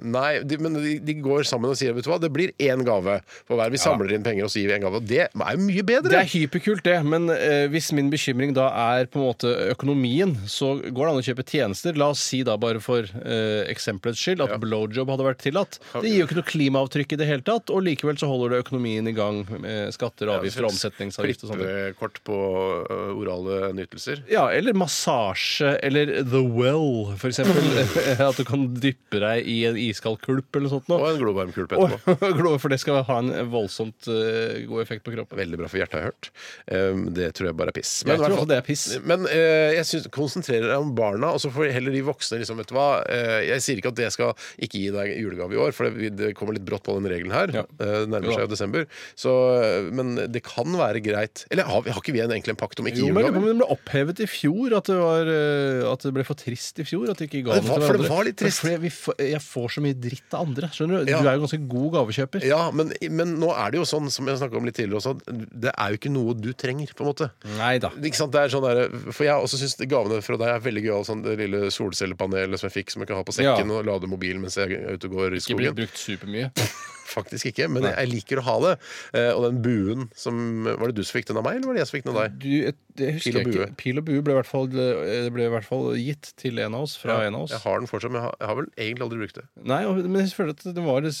nei de, men de, de går sammen og sier vet du hva, det blir én gave for hver. Vi samler inn penger og så gir vi én gave. Og det er jo mye bedre! Det er hyperkult, det, men eh, hvis min bekymring da er på en måte økonomien, så går det an å kjøpe tjenester. La oss si da bare for eh, eksempelets skyld at blowjob hadde vært tillatt. Det gir jo ikke noe klimaavtrykk i det hele tatt, og likevel så holder det økonomien i gang med skatter og avgifter og omsetningsavgift og sånt. Klippekort på ø, orale nytelser. Ja, eller massasje, eller The Well, for eksempel. At du kan dyppe deg i en iskald kulp eller noe sånt. Og Nå. en glovarmkulp Og, etterpå. glo- for det skal ha en voldsomt eh, god effekt på kroppen. Veldig bra for hjertet, har jeg hørt. Um, det tror jeg bare er piss. Jeg i hvert tror fall- også det er piss. Men eh, jeg synes, konsentrerer deg om barna, og så får heller de voksne liksom, vet du hva, eh, Jeg sier ikke at jeg skal ikke gi deg julegave i år, for det, det kommer litt brått på den regelen her. Ja. Eh, det nærmer Jo da. seg jo desember. Så, eh, men det kan være greit Eller har, vi- har ikke vi en, egentlig en pakt om ikke Jo, men jeg lurer på om julegave? den ble opphevet i fjor. At det, var, eh, at det ble for trist i fjor. At de ikke ga Ja, det den var- til for det hverandre. var litt Men trist. fordi vi får- jeg får så mye dritt av andre. Skjønner du? Ja. Du er jo ganske god gavekjøper. Ja, men, men nå er det jo sånn, som jeg snakka om litt tidligere også, at det er jo ikke noe du trenger, på en måte. Nei da. Ikke sant? Det er sånn der, for jeg også syns gavene fra deg er veldig gøyale. Sånn det lille solcellepanelet som jeg fikk, som jeg kan ha på sekken Ja. og lade mobilen mens jeg er ute og går i Ikke blitt skogen. brukt supermye. Faktisk ikke, men jeg liker å ha det. Eh, Og den buen som Var det du som fikk den av meg, eller var det jeg som fikk den av deg? Du, et- det husker Pil og jeg bue. ikke. Pil og bue ble i hvert fall, det ble i hvert fall gitt til en av oss. Fra en av oss. Jeg har den fortsatt, men jeg har, jeg har vel egentlig aldri brukt det. Nei, og- men jeg føler at det var, det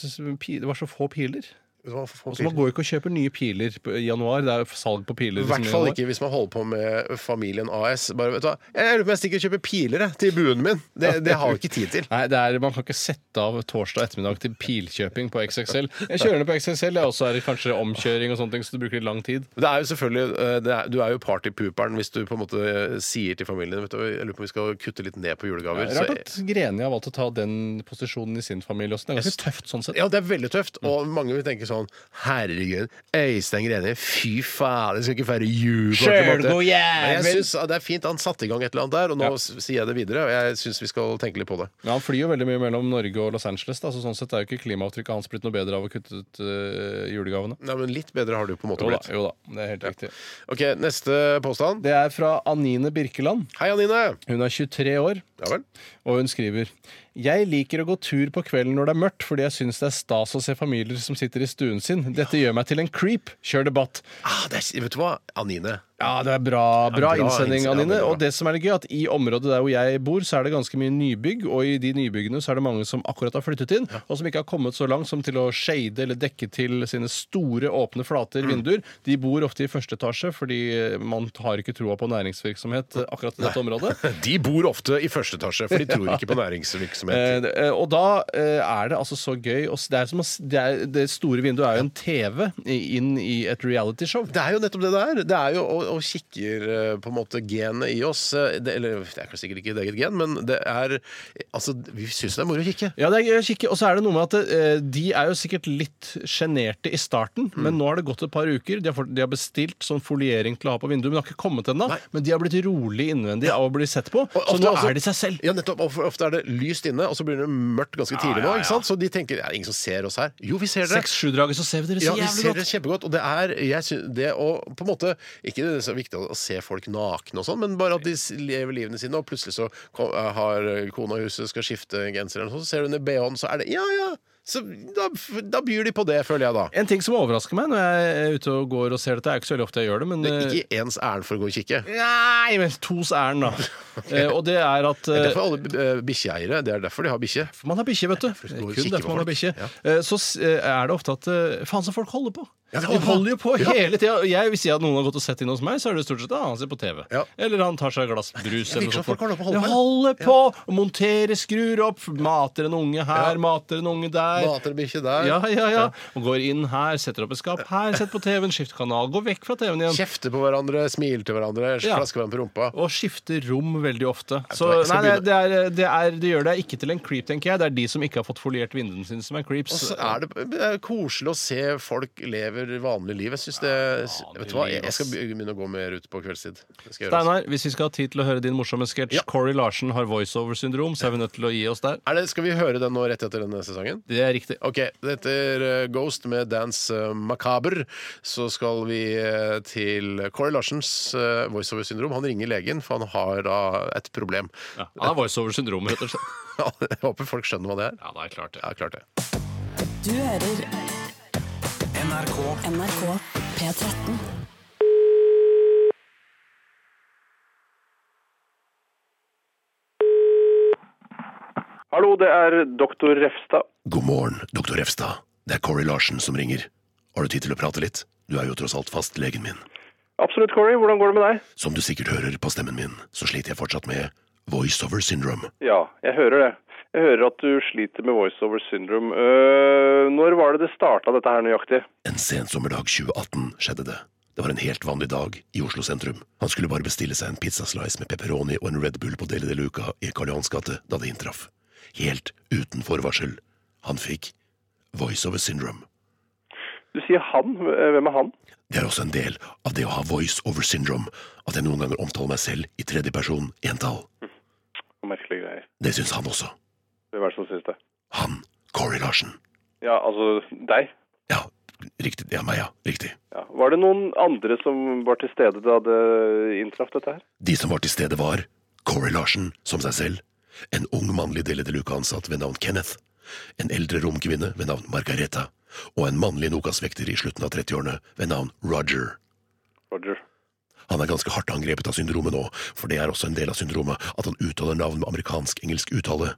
var så få piler. Det var for få Altså, man piler. går jo ikke og kjøper nye piler på- i januar. Det er jo salg på piler. liksom, I hvert fall ikke hvis man holder på med Familien AS. Bare, vet du hva, Jeg lurer på om jeg stikker og kjøper piler jeg, til buen min. Det, det har jeg ikke tid til. Nei, det er, Man kan ikke sette av torsdag ettermiddag til pilkjøping på XXL. Jeg kjører det på XXL, jeg også er det kanskje omkjøring og sånne ting, så du bruker litt lang tid. Det er jo selvfølgelig, eh, det er, Du er jo partypooperen hvis du på en måte eh, sier til familien vet du, jeg lurer på om vi skal kutte litt ned på julegaver. Det er Så- Rart at Greni har valgt å ta den posisjonen i sin familie også. Det er ganske tøft sånn sett. ja, det er veldig tøft, og mange vil tenke sånn Herregud, Øystein Greni, fy faen, jeg skal ikke feire jul på ordentlig måte. Sjølgod jævel! Men jeg synes at Det er fint han satte i gang et eller annet der, og nå s- sier jeg det videre. Og jeg syns vi skal tenke litt på det. Ja, Han flyr jo veldig mye mellom Norge og Los Angeles, da, så sånn sett er jo ikke klimaavtrykket hans blitt noe bedre av å kutte ut øh, julegavene. Nei, men Litt bedre har du på en måte Jo da, blitt. jo da, det er helt riktig. Ok, Neste påstand. Det er fra Anine Birkeland. Hei, Anine. Hun er 23 år. Ja vel. Og hun skriver Jeg liker å gå tur på kvelden når det er mørkt, fordi jeg syns det er stas å se familier som sitter i stuen sin. Dette gjør meg til en creep. Kjør debatt. Ah, det er, vet du hva, Anine. Ja, det er bra, bra Ja, bra innsending, innsending, ja, Anine. det er bra. Og det som er litt gøy, at i området der hvor jeg bor, så er det ganske mye nybygg, og i de nybyggene så er det mange som akkurat har flyttet inn, og som ikke har kommet så langt som til å shade eller dekke til sine store, åpne Mm. flater, vinduer. De bor ofte i første etasje, fordi eh, man har ikke troa på næringsvirksomhet eh, akkurat i dette området. De bor ofte i første etasje, for de tror ikke på næringsvirksomhet. Eh, det- eh, og da eh, er det altså så gøy å, s- det, er som å, s- det, er, det store vinduet er jo en TV i- inn i et realityshow. Det er jo nettopp det det er. Det er jo, og, og kikker eh, på en måte genet i oss. eh, Det, eller det er sikkert ikke et eget gen, men det er Altså, vi syns det er moro å kikke. Ja, det er kikke. Og så er det noe med at eh, de er jo sikkert litt sjenerte i starten, Mm. men nå har det gått et par uker. De har, fått, de har bestilt sånn foliering til å ha på vinduet, men det har ikke kommet ennå. Men de har blitt rolig innvendig av å bli sett på, Og så ofte nå også- er de seg selv. Ja, nettopp. Og for- Ofte er det lyst inne, og så blir det mørkt ganske tidlig nå. ikke sant? Så de tenker det er ingen som ser oss her. Jo, vi ser dere. Seks-sju-draget, så ser vi dere Ja, så vi jævlig ser det godt. kjempegodt. Og det er jeg synes, det å på en måte Ikke det er så viktig å se folk nakne og sånn, men bare at de s- lever livene sine, og plutselig så ko- eh, har kona i huset skal skifte genser, eller noe sånt, så ser hun i bh-en, så er det Ja, ja! Så da, da byr de på det, føler jeg da. En ting som overrasker meg når jeg er ute og går og ser dette, er ikke så veldig ofte jeg gjør det, men Det er eh, ikke ens ærend for å gå og kikke. Nei, men tos æren, da. Eh, og det er at Det er eh, derfor alle eh, bikkjeeiere Det er derfor de har bikkje. for man har bikkje, vet du. Det er går og Kun kikker derfor på man har folk. bikkje. Ja. Eh, Så s- eh, er det ofte at eh, Faen, så folk holder på! Ja, de de holder på. holder jo på Ja. hele tida. Jeg, hvis jeg hadde noen har gått og sett inn hos meg, så er det stort sett at han ser på TV. Ja. Eller han tar seg et glass brus. virker Eller som noe sånt. folk holder på å holde De på, ja. holder på! Og monterer, skrur opp, mater en unge her, Ja. mater en unge der. Mater bikkje der. Ja, ja, ja. Og går inn her, setter opp et skap her, setter på TV-en, skifter kanal, går vekk fra TV-en igjen. Kjefter på hverandre, smiler til hverandre, Ja. flasker hverandre på rumpa. Og skifter rom veldig ofte. Så jeg nei, skal det, det, er, det, er, det gjør deg ikke til en creep, tenker jeg. Det er de som ikke har fått foliert vinduene sine, som er creeps. Og så er det, det er koselig å se folk lever vanlig liv. Jeg synes det Vet du hva, jeg jeg skal begynne å gå mer ut på kveldstid. Det skal jeg gjøre. altså. Steinar, hvis vi skal ha tid til å høre din morsomme sketsj Ja. Corey Larsen har voiceover-syndrom, så er vi nødt til å gi oss der. Er det, skal vi høre den nå rett etter denne sesongen? Det er riktig. Ok, det heter eh, Ghost med Dance eh, Macabre. Så skal vi eh, til Kåre Larsens eh, voiceover-syndrom. Han ringer legen, for han har da et problem. Ja, han har voiceover-syndrom, rett og slett. Jeg håper folk skjønner hva det er. Ja, det er klart det. Ja, klart det. Du hører NRK NRK P13. Hallo, det er doktor Refstad. God morgen, doktor Refstad. Det er Corey Larsen som ringer. Har du tid til å prate litt? Du er jo tross alt fastlegen min. Absolutt, Corey. Hvordan går det med deg? Som du sikkert hører på stemmen min, så sliter jeg fortsatt med voiceover syndrome. Ja, jeg hører det. Jeg hører at du sliter med voiceover syndrome. Øh, når var det det starta, dette her nøyaktig? En sensommerdag 2018 skjedde det. Det var en helt vanlig dag i Oslo sentrum. Han skulle bare bestille seg en pizzaslice med pepperoni og en Red Bull på Deli de Luca i Karl Johans gate da det inntraff. Helt uten forvarsel. Han fikk voiceover syndrome. Du sier han. Øh, Hvem er han? Det er også en del av det å ha voiceover syndrome, at jeg noen ganger omtaler meg selv i tredjeperson entall. Merkelige greier. Det syns han også. Hvem er det som syns det? Han, Corey Larsen. Ja, altså deg. Ja, riktig. Ja, meg, ja. Riktig. Ja. Var det noen andre som var til stede da det inntraff dette her? De som var til stede var Corey Larsen som seg selv, en ung mannlig Deli de Luca-ansatt ved navn Kenneth, en eldre romkvinne ved navn Margareta og en mannlig Nokas-vekter i slutten av 30-årene ved navn Roger. Roger. Han er ganske hardt angrepet av syndromet nå, for det er også en del av syndromet at han uttaler navn med amerikansk-engelsk uttale.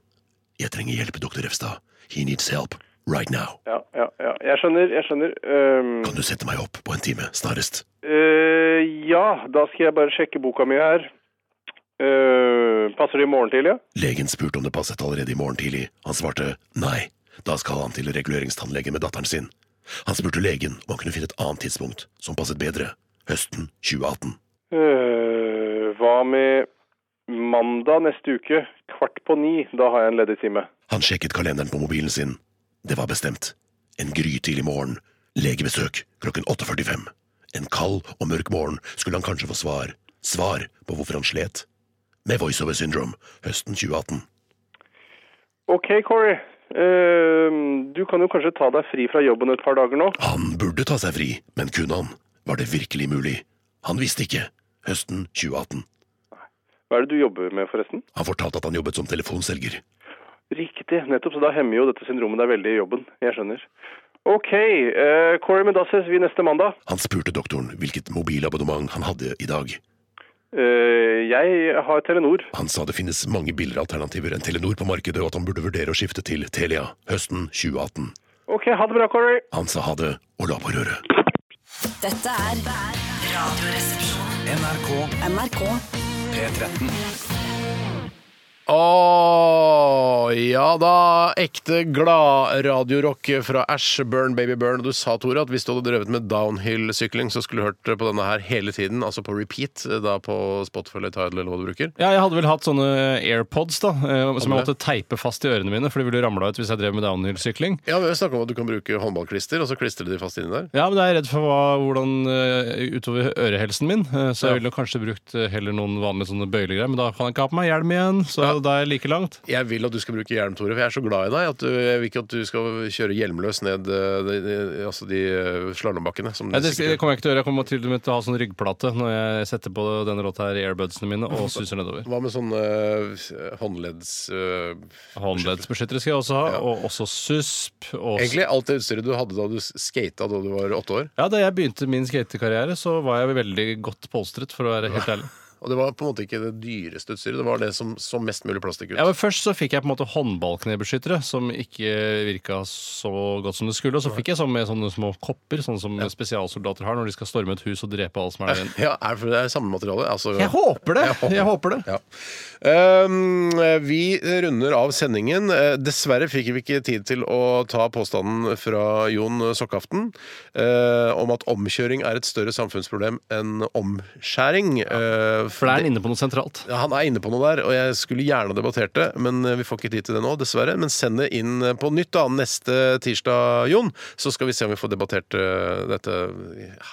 Jeg trenger hjelp, doktor Refstad. He needs help. Right now. Ja, ja, ja. Jeg skjønner, jeg skjønner. Ehm, Øhm, Kan du sette meg opp på en time, snarest? øh, ja, da skal jeg bare sjekke boka mi her. Øh, passer det i morgen til, ja? Legen spurte om det passet allerede i morgen tidlig. Han svarte nei. Da skal han til reguleringstannlegen med datteren sin. Han spurte legen om han kunne finne et annet tidspunkt som passet bedre. Høsten 2018. Øh, hva med mandag neste uke, kvart på ni? Da har jeg en ledig time. Han sjekket kalenderen på mobilen sin. Det var bestemt. En grytidlig morgen. Legebesøk klokken 8.45. En kald og mørk morgen skulle han kanskje få svar. Svar på hvorfor han slet. Med voiceover syndrome høsten 2018. Ok, Corey. Øh, du kan jo kanskje ta deg fri fra jobben et par dager nå. Han burde ta seg fri, men kunne han? Var det virkelig mulig? Han visste ikke. Høsten 2018. Hva er det du jobber med, forresten? Han fortalte at han jobbet som telefonselger. Riktig, nettopp. Så da hemmer jo dette syndromet deg veldig i jobben. Jeg skjønner. Ok, øh, Corey, men da ses vi neste mandag. Han spurte doktoren hvilket mobilabonnement han hadde i dag. Øh, jeg har Telenor. Han sa det finnes mange billigere alternativer enn Telenor på markedet, og at han burde vurdere å skifte til Telia høsten 2018. Ok, ha det bra, Corey. Han sa ha det og la på røret. Dette er Radioresepsjonen. NRK NRK P13 Åh, ja da, ekte glad radiorock fra Ash, Burn Baby Burn. Du sa, Tore, at hvis du hadde drevet med downhill-sykling, så skulle du hørt på denne her hele tiden, altså på repeat, da på Spotify eller Tidal eller hva du bruker. Ja, jeg hadde vel hatt sånne AirPods da, eh, som jeg Hadde måtte teipe fast i ørene mine, for de ville ramla ut hvis jeg drev med downhill-sykling. Ja, vi har jo snakket om at du kan bruke håndballklister, og så klistrer de fast inni der. Ja, men jeg er redd for hva, hvordan eh, utover ørehelsen min, eh, så jeg ville kanskje brukt eh, heller noen vanlige sånne bøylegreier, men da kan jeg ikke ha på meg hjelm igjen, så da er jeg like langt. Jeg vil at du skal bruke hjelm, Tore, for jeg er så glad i deg at du, jeg vil ikke at du skal kjøre hjelmløs ned eh, de, de, altså de slalåmbakkene. Ja, det det kommer jeg ikke til å gjøre. Jeg kommer til og med til å ha sånn ryggplate når jeg setter på denne låta her i airbudsene mine og suser nedover. Hva med sånne eh, håndledds... eh, Håndleddsbeskyttere skal jeg også ha, og også susp. Og egentlig alt det utstyret du hadde da du skata da du var åtte år. Ja, Da jeg begynte min skatekarriere, så var jeg veldig godt polstret, for å være helt ærlig. Og det var på en måte ikke det dyreste utstyret, det var det som så mest mulig plastikk ut. Ja, men Først så fikk jeg på en måte håndballknebeskyttere, som ikke virka så godt som det skulle. Og så fikk jeg sånn med sånne små kopper, sånn som spesialsoldater har når de skal storme et hus og drepe alt som er der inne. Ja, er, for det er samme materiale. Altså, Jeg håper det! Jeg håper det. Ja. Ehm, vi runder av sendingen. Eh, Dessverre fikk vi ikke tid til å ta påstanden fra Jon Sokkaften eh, om at omkjøring er et større samfunnsproblem enn omskjæring. Eh, For det er inne på noe sentralt. Ja, Han er inne på noe der, og jeg skulle gjerne debattert det, men eh, vi får ikke tid til det nå, dessverre. Men send det inn eh, på nytt da, neste tirsdag, Jon, så skal vi se om vi får debattert eh, dette,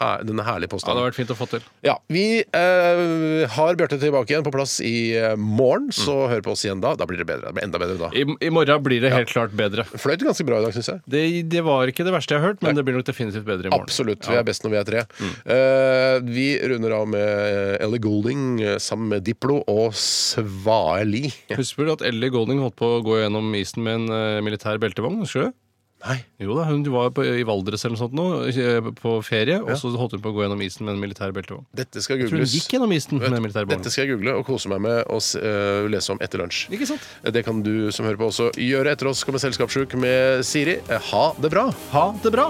her, denne Ja, herlige Det påstanden. hadde vært fint å få til. Ja, Vi eh, har Bjarte tilbake igjen på plass i eh, morgen, så Mm. hør på oss igjen da. Da blir det bedre. Det blir enda bedre da. I, I morgen blir det helt klart bedre. Fløyt ganske bra i dag, syns jeg. Det, det var ikke det verste jeg har hørt, men det blir nok definitivt bedre i morgen. Mm. Absolutt. Vi er best når vi er tre. Eh, vi runder av med Ellie Goulding eh, sammen med Diplo og Svaeli. Husker du at Ellie Golding holdt på å gå gjennom isen med en eh, militær beltevogn? Husker du? Nei. Jo da, hun var på, i Valdres eller noe sånt nå, eh, på ferie, og så holdt hun på å gå gjennom isen med en militær beltevogn. Dette skal Jeg tror hun googles. gikk gjennom isen med en militær beltevogn. Dette skal jeg google og kose meg med og s- eh, lese om etter lunsj. Ikke sant? Det kan du som hører på også gjøre. Etter oss kommer Selskapssjuk med Siri. Eh, Ha det bra! Ha det bra!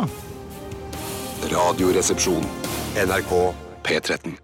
Radioresepsjon. NRK P13.